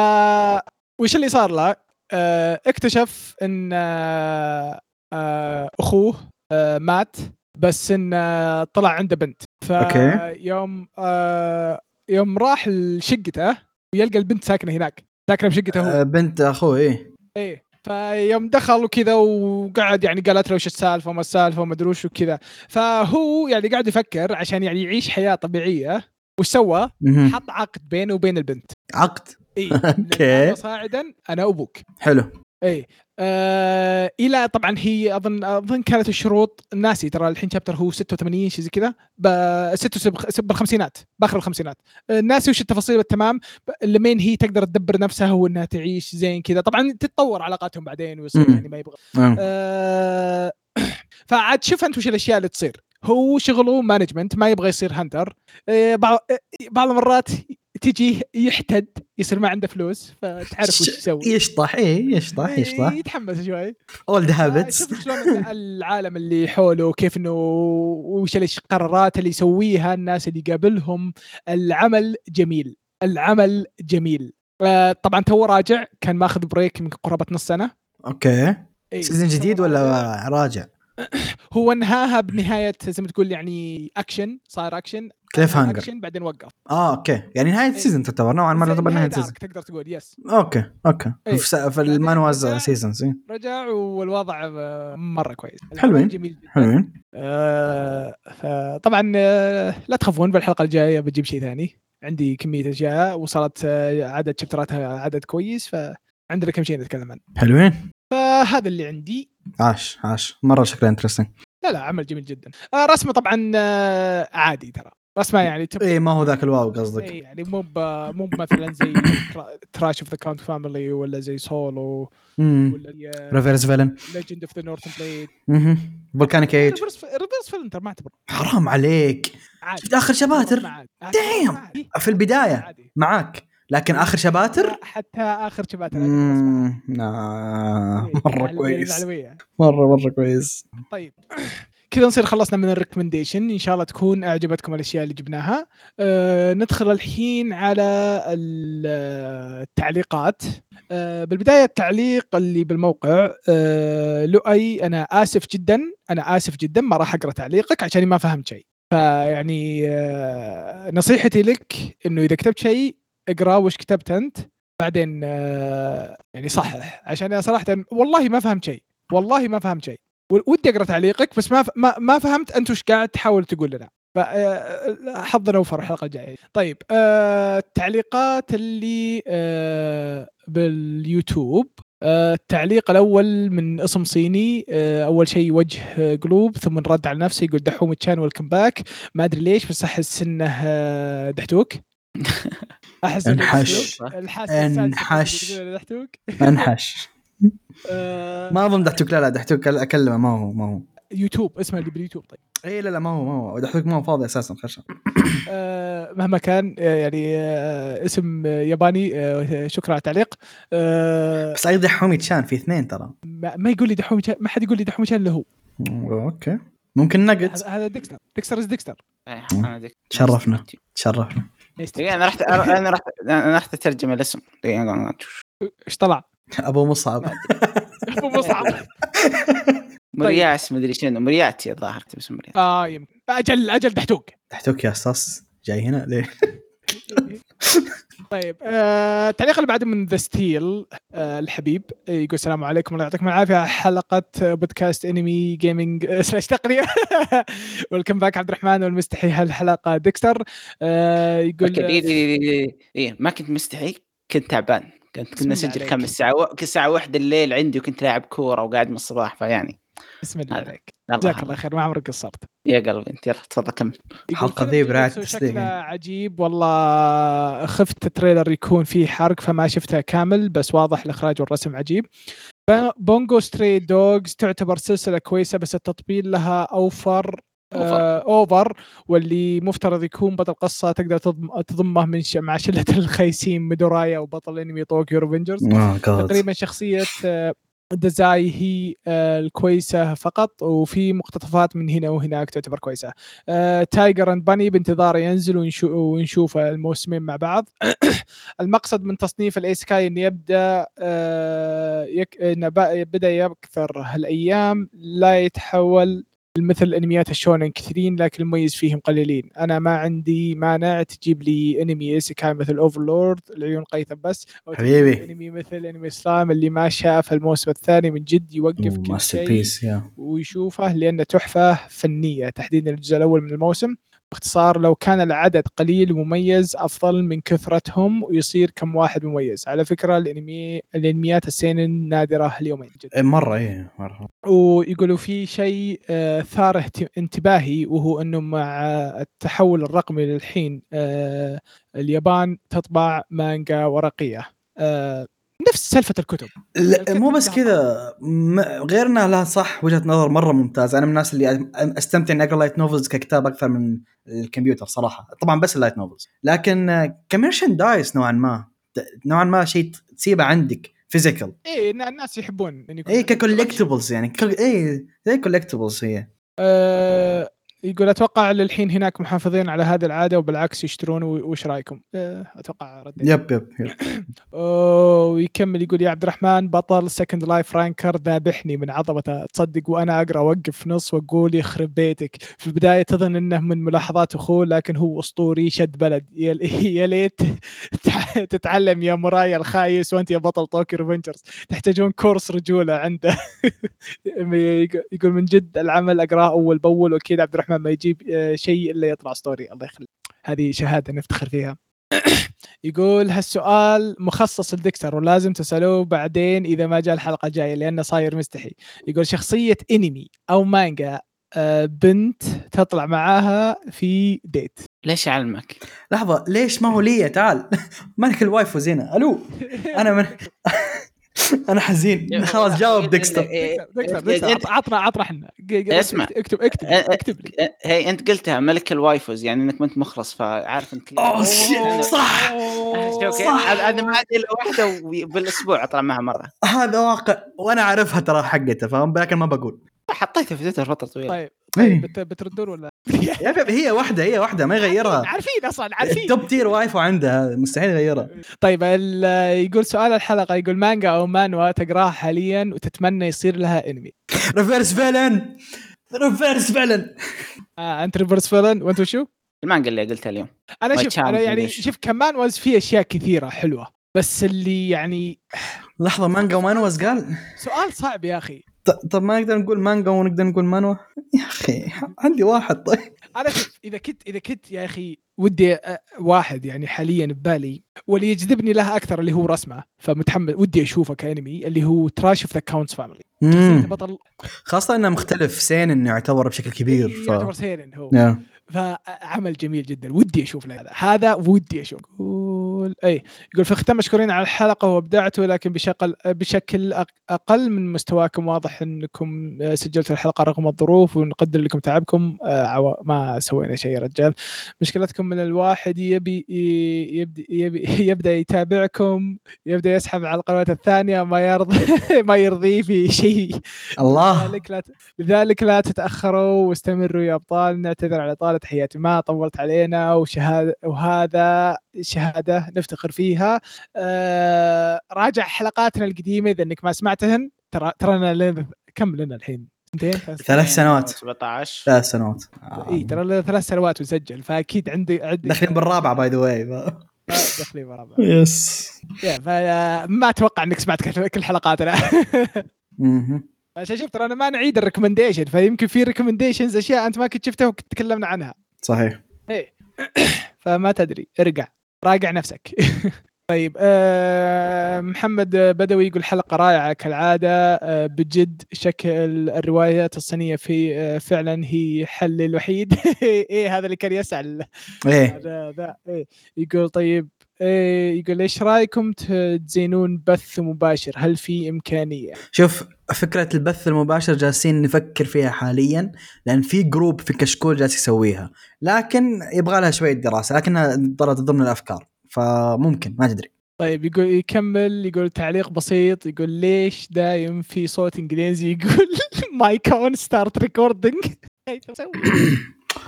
[SPEAKER 1] وش اللي صار له؟ آه، اكتشف ان آه، آه، اخوه آه، مات بس ان آه، طلع عنده بنت ف
[SPEAKER 2] أوكي.
[SPEAKER 1] يوم آه، يوم راح لشقته ويلقى البنت ساكنه هناك ساكنه بشقته هو
[SPEAKER 2] آه، بنت اخوه ايه
[SPEAKER 1] ايه فيوم دخل وكذا وقعد يعني قالت له وش السالفه وما السالفه وما ادري وش وكذا فهو يعني قاعد يفكر عشان يعني يعيش حياه طبيعيه وش سوى؟
[SPEAKER 2] مهم.
[SPEAKER 1] حط عقد بينه وبين البنت
[SPEAKER 2] عقد [laughs]
[SPEAKER 1] اي
[SPEAKER 2] أوكي.
[SPEAKER 1] إيه، أنا صاعدا انا ابوك
[SPEAKER 2] حلو
[SPEAKER 1] اي آه الى طبعا هي اظن اظن كانت الشروط ناسي ترى الحين شابتر هو 86 شيء زي كذا ب- 76 بالخمسينات باخر الخمسينات آه ناسي وش التفاصيل بالتمام ب- لمين هي تقدر تدبر نفسها وانها تعيش زين كذا طبعا تتطور علاقاتهم بعدين ويصير
[SPEAKER 2] مم.
[SPEAKER 1] يعني ما يبغى
[SPEAKER 2] آه.
[SPEAKER 1] آه، [clears throat] فعاد شوف انت وش الاشياء اللي تصير هو شغله مانجمنت ما يبغى يصير هانتر آه، بعض آه، بعض المرات تجي يحتد يصير ما عنده فلوس فتعرف وش
[SPEAKER 2] ش-
[SPEAKER 1] يسوي
[SPEAKER 2] يشطح ايه يشطح يشطح
[SPEAKER 1] يتحمس
[SPEAKER 2] [laughs]
[SPEAKER 1] شوي
[SPEAKER 2] اولد هابتس
[SPEAKER 1] إيه. شوف شلون إن العالم اللي حوله وكيف انه وش الأش- القرارات اللي يسويها الناس اللي يقابلهم العمل جميل العمل جميل آه، طبعا تو راجع كان ماخذ بريك من قرابه نص سنه
[SPEAKER 2] اوكي
[SPEAKER 1] إيه،
[SPEAKER 2] سيزون
[SPEAKER 1] تو
[SPEAKER 2] جديد ولا
[SPEAKER 1] راجع.
[SPEAKER 2] راجع
[SPEAKER 1] هو انهاها بنهايه زي ما تقول يعني اكشن صار اكشن
[SPEAKER 2] كليف هانجر
[SPEAKER 1] اكشن بعدين وقف
[SPEAKER 2] اه اوكي يعني نهايه السيزون تعتبر نوعا ما
[SPEAKER 1] زي
[SPEAKER 2] تعتبر
[SPEAKER 1] نهاية
[SPEAKER 2] نهايه السيزون
[SPEAKER 1] آرك تقدر تقول يس
[SPEAKER 2] اوكي اوكي
[SPEAKER 1] إيه.
[SPEAKER 2] في, س- في المانوز
[SPEAKER 1] رجع-
[SPEAKER 2] سيزونز إيه.
[SPEAKER 1] رجع والوضع آه، مره كويس العمل
[SPEAKER 2] حلوين.
[SPEAKER 1] جميل جدا
[SPEAKER 2] حلوين
[SPEAKER 1] آه، آه، طبعا آه، لا تخافون بالحلقه الجايه بجيب شيء ثاني عندي كميه اشياء وصلت آه، عدد شابتراتها عدد كويس فعندنا كم شيء نتكلم عنه
[SPEAKER 2] حلوين
[SPEAKER 1] فهذا اللي عندي
[SPEAKER 2] عاش عاش مره شكلها انترستنج
[SPEAKER 1] لا لا عمل جميل جدا آه، رسمه طبعا آه، عادي ترى
[SPEAKER 2] إيه،
[SPEAKER 1] رسمه يعني تب...
[SPEAKER 2] اي ما هو ذاك الواو قصدك
[SPEAKER 1] إيه، يعني مو ب- مو مثلا زي تراش اوف ذا كاونت فاميلي ولا زي سولو ولا آه،
[SPEAKER 2] ريفيرس فيلن
[SPEAKER 1] ليجند اوف ذا نورثن بليد
[SPEAKER 2] فولكانيك ايج
[SPEAKER 1] ريفرس فلنتر ما اعتبر
[SPEAKER 2] حرام عليك
[SPEAKER 1] عادي
[SPEAKER 2] شفت آخر شباتر؟
[SPEAKER 1] ما عاد. عادي.
[SPEAKER 2] Damn.
[SPEAKER 1] ما عاد.
[SPEAKER 2] في البداية.
[SPEAKER 1] عادي.
[SPEAKER 2] معاك لكن اخر شباتر
[SPEAKER 1] حتى اخر شباتر عجبني بس ما-
[SPEAKER 2] مم، آه،
[SPEAKER 1] إيه،
[SPEAKER 2] مره
[SPEAKER 1] على-
[SPEAKER 2] كويس
[SPEAKER 1] العلوية.
[SPEAKER 2] مره مره كويس
[SPEAKER 1] طيب كذا نصير خلصنا من الريكومنديشن ان شاء الله تكون اعجبتكم الاشياء اللي جبناها أه ندخل الحين على ال- التعليقات أه بالبدايه التعليق اللي بالموقع أه لؤي انا اسف جدا انا اسف جدا ما راح اقرا تعليقك عشان ما فهمت شيء فيعني أه نصيحتي لك انه اذا كتبت شيء اقرا وش كتبت انت بعدين أه يعني صحح عشان انا صراحه والله ما فهمت شيء والله ما فهمت شيء و- ودي اقرا تعليقك بس ما ف... ما, ما فهمت انت وش قاعد تحاول تقول لنا ف- آه، حظنا اوفر الحلقه الجايه طيب آه، التعليقات اللي آه، باليوتيوب آه، التعليق الاول من اسم صيني آه، اول شيء وجه آه، قلوب ثم رد على نفسه يقول دحوم تشان ويلكم باك ما ادري ليش بس احس انه آه، دحتوك احس إنه
[SPEAKER 2] انحش.
[SPEAKER 1] دحتوك. الحاسة السادسة
[SPEAKER 2] انحش.
[SPEAKER 1] يقولون دحتوك
[SPEAKER 2] انحش
[SPEAKER 1] آه،
[SPEAKER 2] ما اظن دحتوك لا لا دحتوك اكلمه ما هو ما هو
[SPEAKER 1] يوتيوب اسمه اللي باليوتيوب طيب
[SPEAKER 2] اي إيه، لا لا ما هو ما هو دحتوك ما هو فاضي اساسا خشب
[SPEAKER 1] آه، مهما كان آه، يعني آه، اسم آه، ياباني آه، شكرا على التعليق آه،
[SPEAKER 2] بس ايضا حومي تشان في اثنين ترى
[SPEAKER 1] ما ما يقول لي دحوم جان- ما حد يقول لي دحوم جان الا هو
[SPEAKER 2] اوكي ممكن نجت
[SPEAKER 1] هذا- هذا ديكستر ديكستر از ديكستر
[SPEAKER 3] إيه، أنا ذيك-
[SPEAKER 2] تشرفنا. تشرفنا
[SPEAKER 3] دقيقة، انا رحت انا رحت انا رحت اترجم الاسم دقيقة، أنا-
[SPEAKER 1] ايش طلع؟
[SPEAKER 2] ابو مصعب
[SPEAKER 1] ابو مصعب
[SPEAKER 2] طيب.
[SPEAKER 3] مرياس مدري شنو مرياتي الظاهر اسمه مرياتي
[SPEAKER 1] اه يمكن اجل اجل دحتوق
[SPEAKER 2] [laughs] دحتوك يا اساس جاي هنا ليه؟
[SPEAKER 1] [laughs] طيب آه، التعليق اللي بعده من ذا ستيل آه، الحبيب آه، يقول السلام عليكم الله يعطيكم العافيه حلقه آه، بودكاست انمي جيمنج آه، سلاش [laughs] تقنيه ويلكم باك عبد الرحمن والمستحي هالحلقه ديكستر آه، يقول
[SPEAKER 3] أوكي، دي- دي- دي- دي- إيه، ما كنت مستحي كنت تعبان كنت
[SPEAKER 1] بسم
[SPEAKER 3] كنا
[SPEAKER 1] الله
[SPEAKER 3] نسجل
[SPEAKER 1] عليك.
[SPEAKER 3] كم الساعه و... الساعه واحدة الليل عندي وكنت لاعب كوره وقاعد من الصباح فيعني
[SPEAKER 1] بسم الله
[SPEAKER 3] هذا.
[SPEAKER 1] عليك
[SPEAKER 3] الله
[SPEAKER 1] جزاك
[SPEAKER 3] يرحمه.
[SPEAKER 1] الله خير ما عمرك قصرت
[SPEAKER 3] يا قلبي انت يلا تفضل كمل
[SPEAKER 1] يقول
[SPEAKER 2] حلقة
[SPEAKER 1] فيلم
[SPEAKER 2] ذي برعاية
[SPEAKER 1] جوجوتسو
[SPEAKER 2] تسليم
[SPEAKER 1] شكله
[SPEAKER 2] يعني.
[SPEAKER 1] عجيب والله خفت التريلر يكون فيه حرق فما شفته كامل بس واضح الاخراج والرسم عجيب ب- بونجو ستري دوجز تعتبر سلسله كويسه بس التطبيل لها اوفر آه، اوفر واللي مفترض يكون بطل قصه تقدر تضم- تضمه من ش... مع [laughs] شله الخيسين ميدورايا وبطل انمي طوكيو ريفنجرز
[SPEAKER 2] آه، God.
[SPEAKER 1] تقريبا شخصيه آه، دزاي هي آه، الكويسه فقط وفي مقتطفات من هنا وهناك تعتبر كويسه آه، تايجر اند باني بانتظاره ينزل ونشو- ونشوف الموسمين مع بعض المقصد من تصنيف الايسكاي ان يبدا آه، يك... إنه بقى- بدا يكثر هالايام لا يتحول مثل انميات الشونن كثيرين لكن المميز فيهم قليلين انا ما عندي مانع تجيب لي انمي ايسكاي مثل اوفرلورد العيون قيثم بس او تجيب لي
[SPEAKER 2] حبيبي.
[SPEAKER 1] انمي مثل انمي سلايم اللي ما شاف الموسم الثاني من جد يوقف
[SPEAKER 2] أوه،
[SPEAKER 1] كل
[SPEAKER 2] ماستر
[SPEAKER 1] شيء
[SPEAKER 2] بيس يا
[SPEAKER 1] ويشوفه لانه تحفه فنيه تحديدا الجزء الاول من الموسم باختصار لو كان العدد قليل ومميز افضل من كثرتهم ويصير كم واحد مميز على فكره الانمي الانميات السينين نادره اليومين جدا
[SPEAKER 2] إيه، مره ايه مره
[SPEAKER 1] ويقولوا في شيء آه، ثار اهت- انتباهي وهو انه مع التحول الرقمي للحين آه، اليابان تطبع مانجا ورقيه آه، نفس سلفه الكتب
[SPEAKER 2] لا
[SPEAKER 1] الكتب
[SPEAKER 2] مو بس
[SPEAKER 1] لها
[SPEAKER 2] كذا م- غير انها لها صح وجهه نظر مره ممتازه انا من الناس اللي أ- استمتع اني اقرا لايت نوفلز ككتاب اكثر من الكمبيوتر صراحه طبعا بس اللايت نوفلز لكن آه، كمرشندايز نوعا ما ت- نوعا ما شيء ت- تسيبه عندك فيزيكال
[SPEAKER 1] اي إيه، الناس يحبون ان يكون
[SPEAKER 2] اي ككولكتبلز يعني كل- اي زي كولكتبلز هي
[SPEAKER 1] آه، يقول اتوقع للحين هناك محافظين على هذه العاده وبالعكس يشترون و- وش رايكم؟ آه، اتوقع رديت
[SPEAKER 2] يب يب, يب.
[SPEAKER 1] آه، ويكمل يقول يا عبد الرحمن بطل سكند لايف رانكر ذابحني من عظمته تصدق وانا اقرا اوقف في نص واقول يخرب بيتك في البدايه تظن انه من ملاحظات اخوه لكن هو اسطوري شد بلد يا ل- [laughs] يا ليت تع- تتعلم يا مرايا الخايس وانت يا بطل طوكيو ريفنجرز تحتاجون كورس رجوله عنده [laughs] يقول من جد العمل اقراه اول باول واكيد عبد الرحمن ما يجيب آه، شيء الا يطلع اسطوري الله يخليك هذه شهاده نفتخر فيها يقول هالسؤال مخصص لدكتور ولازم تسألوه بعدين إذا ما جاء الحلقة الجاية لأنه صاير مستحي يقول شخصية إنمي أو مانجا آه، بنت تطلع معاها في
[SPEAKER 3] [laughs]
[SPEAKER 1] ديت
[SPEAKER 3] ليش اعلمك؟
[SPEAKER 2] لحظه ليش ما هو لي تعال [laughs] مالك الوايفوز هنا الو انا من [laughs] انا حزين خلاص جاوب ديكستر
[SPEAKER 1] دكتور دكتور
[SPEAKER 3] إيه، أنت-
[SPEAKER 1] عط- عطنا عطنا احنا
[SPEAKER 3] إيه، اسمع. إيه.
[SPEAKER 1] اكتب اكتب اكتب لي
[SPEAKER 3] هي انت قلتها ملك الوايفوز يعني انك ما انت مخلص فعارف انت ليه.
[SPEAKER 2] اوه shit، صح
[SPEAKER 3] شوف كيف؟
[SPEAKER 2] صح.
[SPEAKER 3] انا أنا ما عندي الا واحده وبالاسبوع اطلع معها مره
[SPEAKER 2] هذا واقع وانا عارفها ترى حقته فاهم لكن ما بقول
[SPEAKER 3] حطيتها في تويتر فتره طويله
[SPEAKER 1] طيب
[SPEAKER 2] إيه.
[SPEAKER 1] طيب بت- بتردون ولا
[SPEAKER 2] يا بيب هي واحده هي واحده ما يغيرها
[SPEAKER 1] [laughs] عارفين اصلا عارفين
[SPEAKER 2] التوب تير وايفو عندها مستحيل يغيرها
[SPEAKER 1] طيب ال- يقول سؤال الحلقه يقول مانجا او مانوا تقراها حاليا وتتمنى يصير لها انمي
[SPEAKER 2] ريفيرس فيلن ريفيرس فيلن
[SPEAKER 1] آه انت ريفرس فيلن وانت وشو؟
[SPEAKER 3] المانجا اللي قلتها اليوم
[SPEAKER 1] انا
[SPEAKER 3] My
[SPEAKER 1] شوف انا
[SPEAKER 3] charm
[SPEAKER 1] يعني
[SPEAKER 3] finish.
[SPEAKER 1] شوف كمان واز في اشياء كثيره حلوه بس اللي يعني
[SPEAKER 2] لحظه مانجا ومانوز قال
[SPEAKER 1] سؤال صعب يا اخي
[SPEAKER 2] ط- طب ما نقدر نقول مانجا ونقدر نقول مانوا يا اخي عندي واحد طيب
[SPEAKER 1] انا شوف اذا كنت اذا كنت يا اخي ودي أ- واحد يعني حاليا ببالي واللي يجذبني له اكثر اللي هو رسمه فمتحمس ودي اشوفه كانمي اللي هو تراش اوف ذا كاونتس فاميلي
[SPEAKER 2] مم.
[SPEAKER 1] بطل
[SPEAKER 2] خاصه انه مختلف سين انه يعتبر بشكل كبير نعم. ف
[SPEAKER 1] يعتبر سيرن إيه، هو
[SPEAKER 2] يا.
[SPEAKER 1] فعمل جميل جدا ودي اشوف له هذا هذا ودي اشوف يقول اي يقول في الختام مشكورين على الحلقه وابدعتوا لكن بشكل بشكل أق- اقل من مستواكم واضح انكم آه، سجلتوا الحلقه رغم الظروف ونقدر لكم تعبكم آه، عوا- ما سوينا شيء يا رجال مشكلتكم من الواحد يبي يبدا يبي [laughs] يبدا يتابعكم يبدا يسحب على القنوات الثانيه ما يرضي [laughs] ما يرضيه في شيء
[SPEAKER 2] الله
[SPEAKER 1] لذلك لا ت- لذلك لا تتاخروا واستمروا يا ابطال نعتذر على طاله حياتي ما طولت علينا وشهاده وهذا شهاده نفتخر فيها آه راجع حلقاتنا القديمه اذا انك ما سمعتهن ترى ترانا لنا كم لنا الحين؟ سنتين ثلاث
[SPEAKER 2] ثلاث
[SPEAKER 3] [laughs]
[SPEAKER 2] سنوات
[SPEAKER 3] 17
[SPEAKER 2] ثلاث سنوات آه.
[SPEAKER 1] اي ترى لنا ثلاث سنوات ونسجل فاكيد عندي عندي
[SPEAKER 2] داخلين بالرابعه باي ذا واي
[SPEAKER 1] تقريبا رابع
[SPEAKER 4] يس
[SPEAKER 1] يا، فا- ما اتوقع انك سمعت كل كل حلقاتنا [laughs]
[SPEAKER 2] مهم.
[SPEAKER 1] عشان شفت ترى انا ما نعيد الريكومنديشن فيمكن في ريكومنديشنز اشياء انت ما كنت شفتها وكنت تكلمنا عنها
[SPEAKER 2] صحيح
[SPEAKER 1] فما تدري ارجع راجع نفسك [laughs] طيب آه محمد بدوي يقول حلقه رائعه كالعاده آه بجد شكل الروايات الصينيه في آه فعلا هي حل الوحيد [laughs] ايه هذا اللي كان يسال
[SPEAKER 2] ايه
[SPEAKER 1] هذا ذا إيه. يقول طيب إيه يقول ايش رايكم ت- تزينون بث مباشر هل في امكانيه؟
[SPEAKER 2] شوف فكرة البث المباشر جالسين نفكر فيها حاليا لأن في جروب في كشكول جالس يسويها لكن يبغى لها شوية دراسة لكنها ضرت ضمن الأفكار فممكن ما تدري
[SPEAKER 1] طيب يقول يكمل يقول تعليق بسيط يقول ليش دايم في صوت انجليزي [laughs] يقول ماي كون ستارت ريكوردينج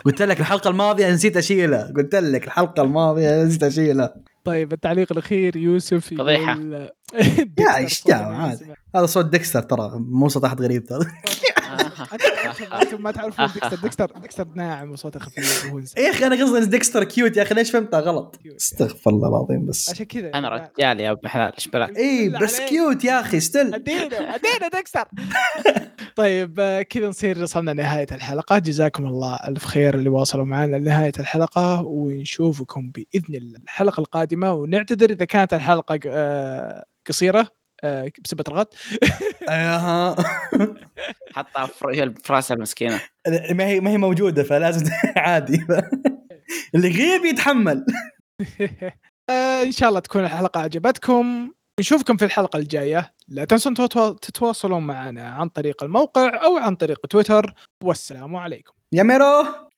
[SPEAKER 2] قلت لك الحلقة الماضية نسيت أشيلها قلت لك الحلقة الماضية نسيت أشيلها
[SPEAKER 1] [laughs] طيب التعليق الاخير يوسف يقول [laughs]
[SPEAKER 3] فضيحة.
[SPEAKER 1] دكتور
[SPEAKER 2] إيش
[SPEAKER 1] صوت
[SPEAKER 2] دعوة،
[SPEAKER 1] إنجليزي.
[SPEAKER 2] هذا صوت ديكستر ترى مو صوت أحد غريب ترى [laughs]
[SPEAKER 3] آه.
[SPEAKER 1] انتم ما تعرفون ديكستر ديكستر ديكستر ناعم وصوته خفيف وهو
[SPEAKER 2] [laughs]
[SPEAKER 1] إنسان.
[SPEAKER 2] يا أخي أنا قصدي إن ديكستر كيوت يا أخي ليش فهمتها غلط استغفر الله العظيم بس
[SPEAKER 1] عشان كذا يعني
[SPEAKER 3] انا رجال يا ابن حلال ايش بلاك
[SPEAKER 2] اي
[SPEAKER 1] بالله
[SPEAKER 2] إيه، بس
[SPEAKER 1] عليك.
[SPEAKER 2] كيوت يا أخي
[SPEAKER 1] [laughs]
[SPEAKER 2] ستيل
[SPEAKER 1] ادينا ادينا دكستر [laughs] طيب آه، كذا نصير وصلنا لنهايه الحلقه جزاكم الله الف خير اللي واصلوا معنا لنهايه الحلقه ونشوفكم باذن الله الحلقه القادمه ونعتذر اذا كانت الحلقه آه، قصيره آه، بسبه الغط
[SPEAKER 2] أها
[SPEAKER 3] حطها في في راسها المسكينه
[SPEAKER 2] ما هي ما هي موجوده فلازم [laughs] عادي اللي غيب يتحمل
[SPEAKER 1] آه، ان شاء الله تكون الحلقه عجبتكم نشوفكم في الحلقه الجايه لا تنسون تتوا- تتواصلون معنا عن طريق الموقع او عن طريق تويتر والسلام عليكم
[SPEAKER 2] يا ميرو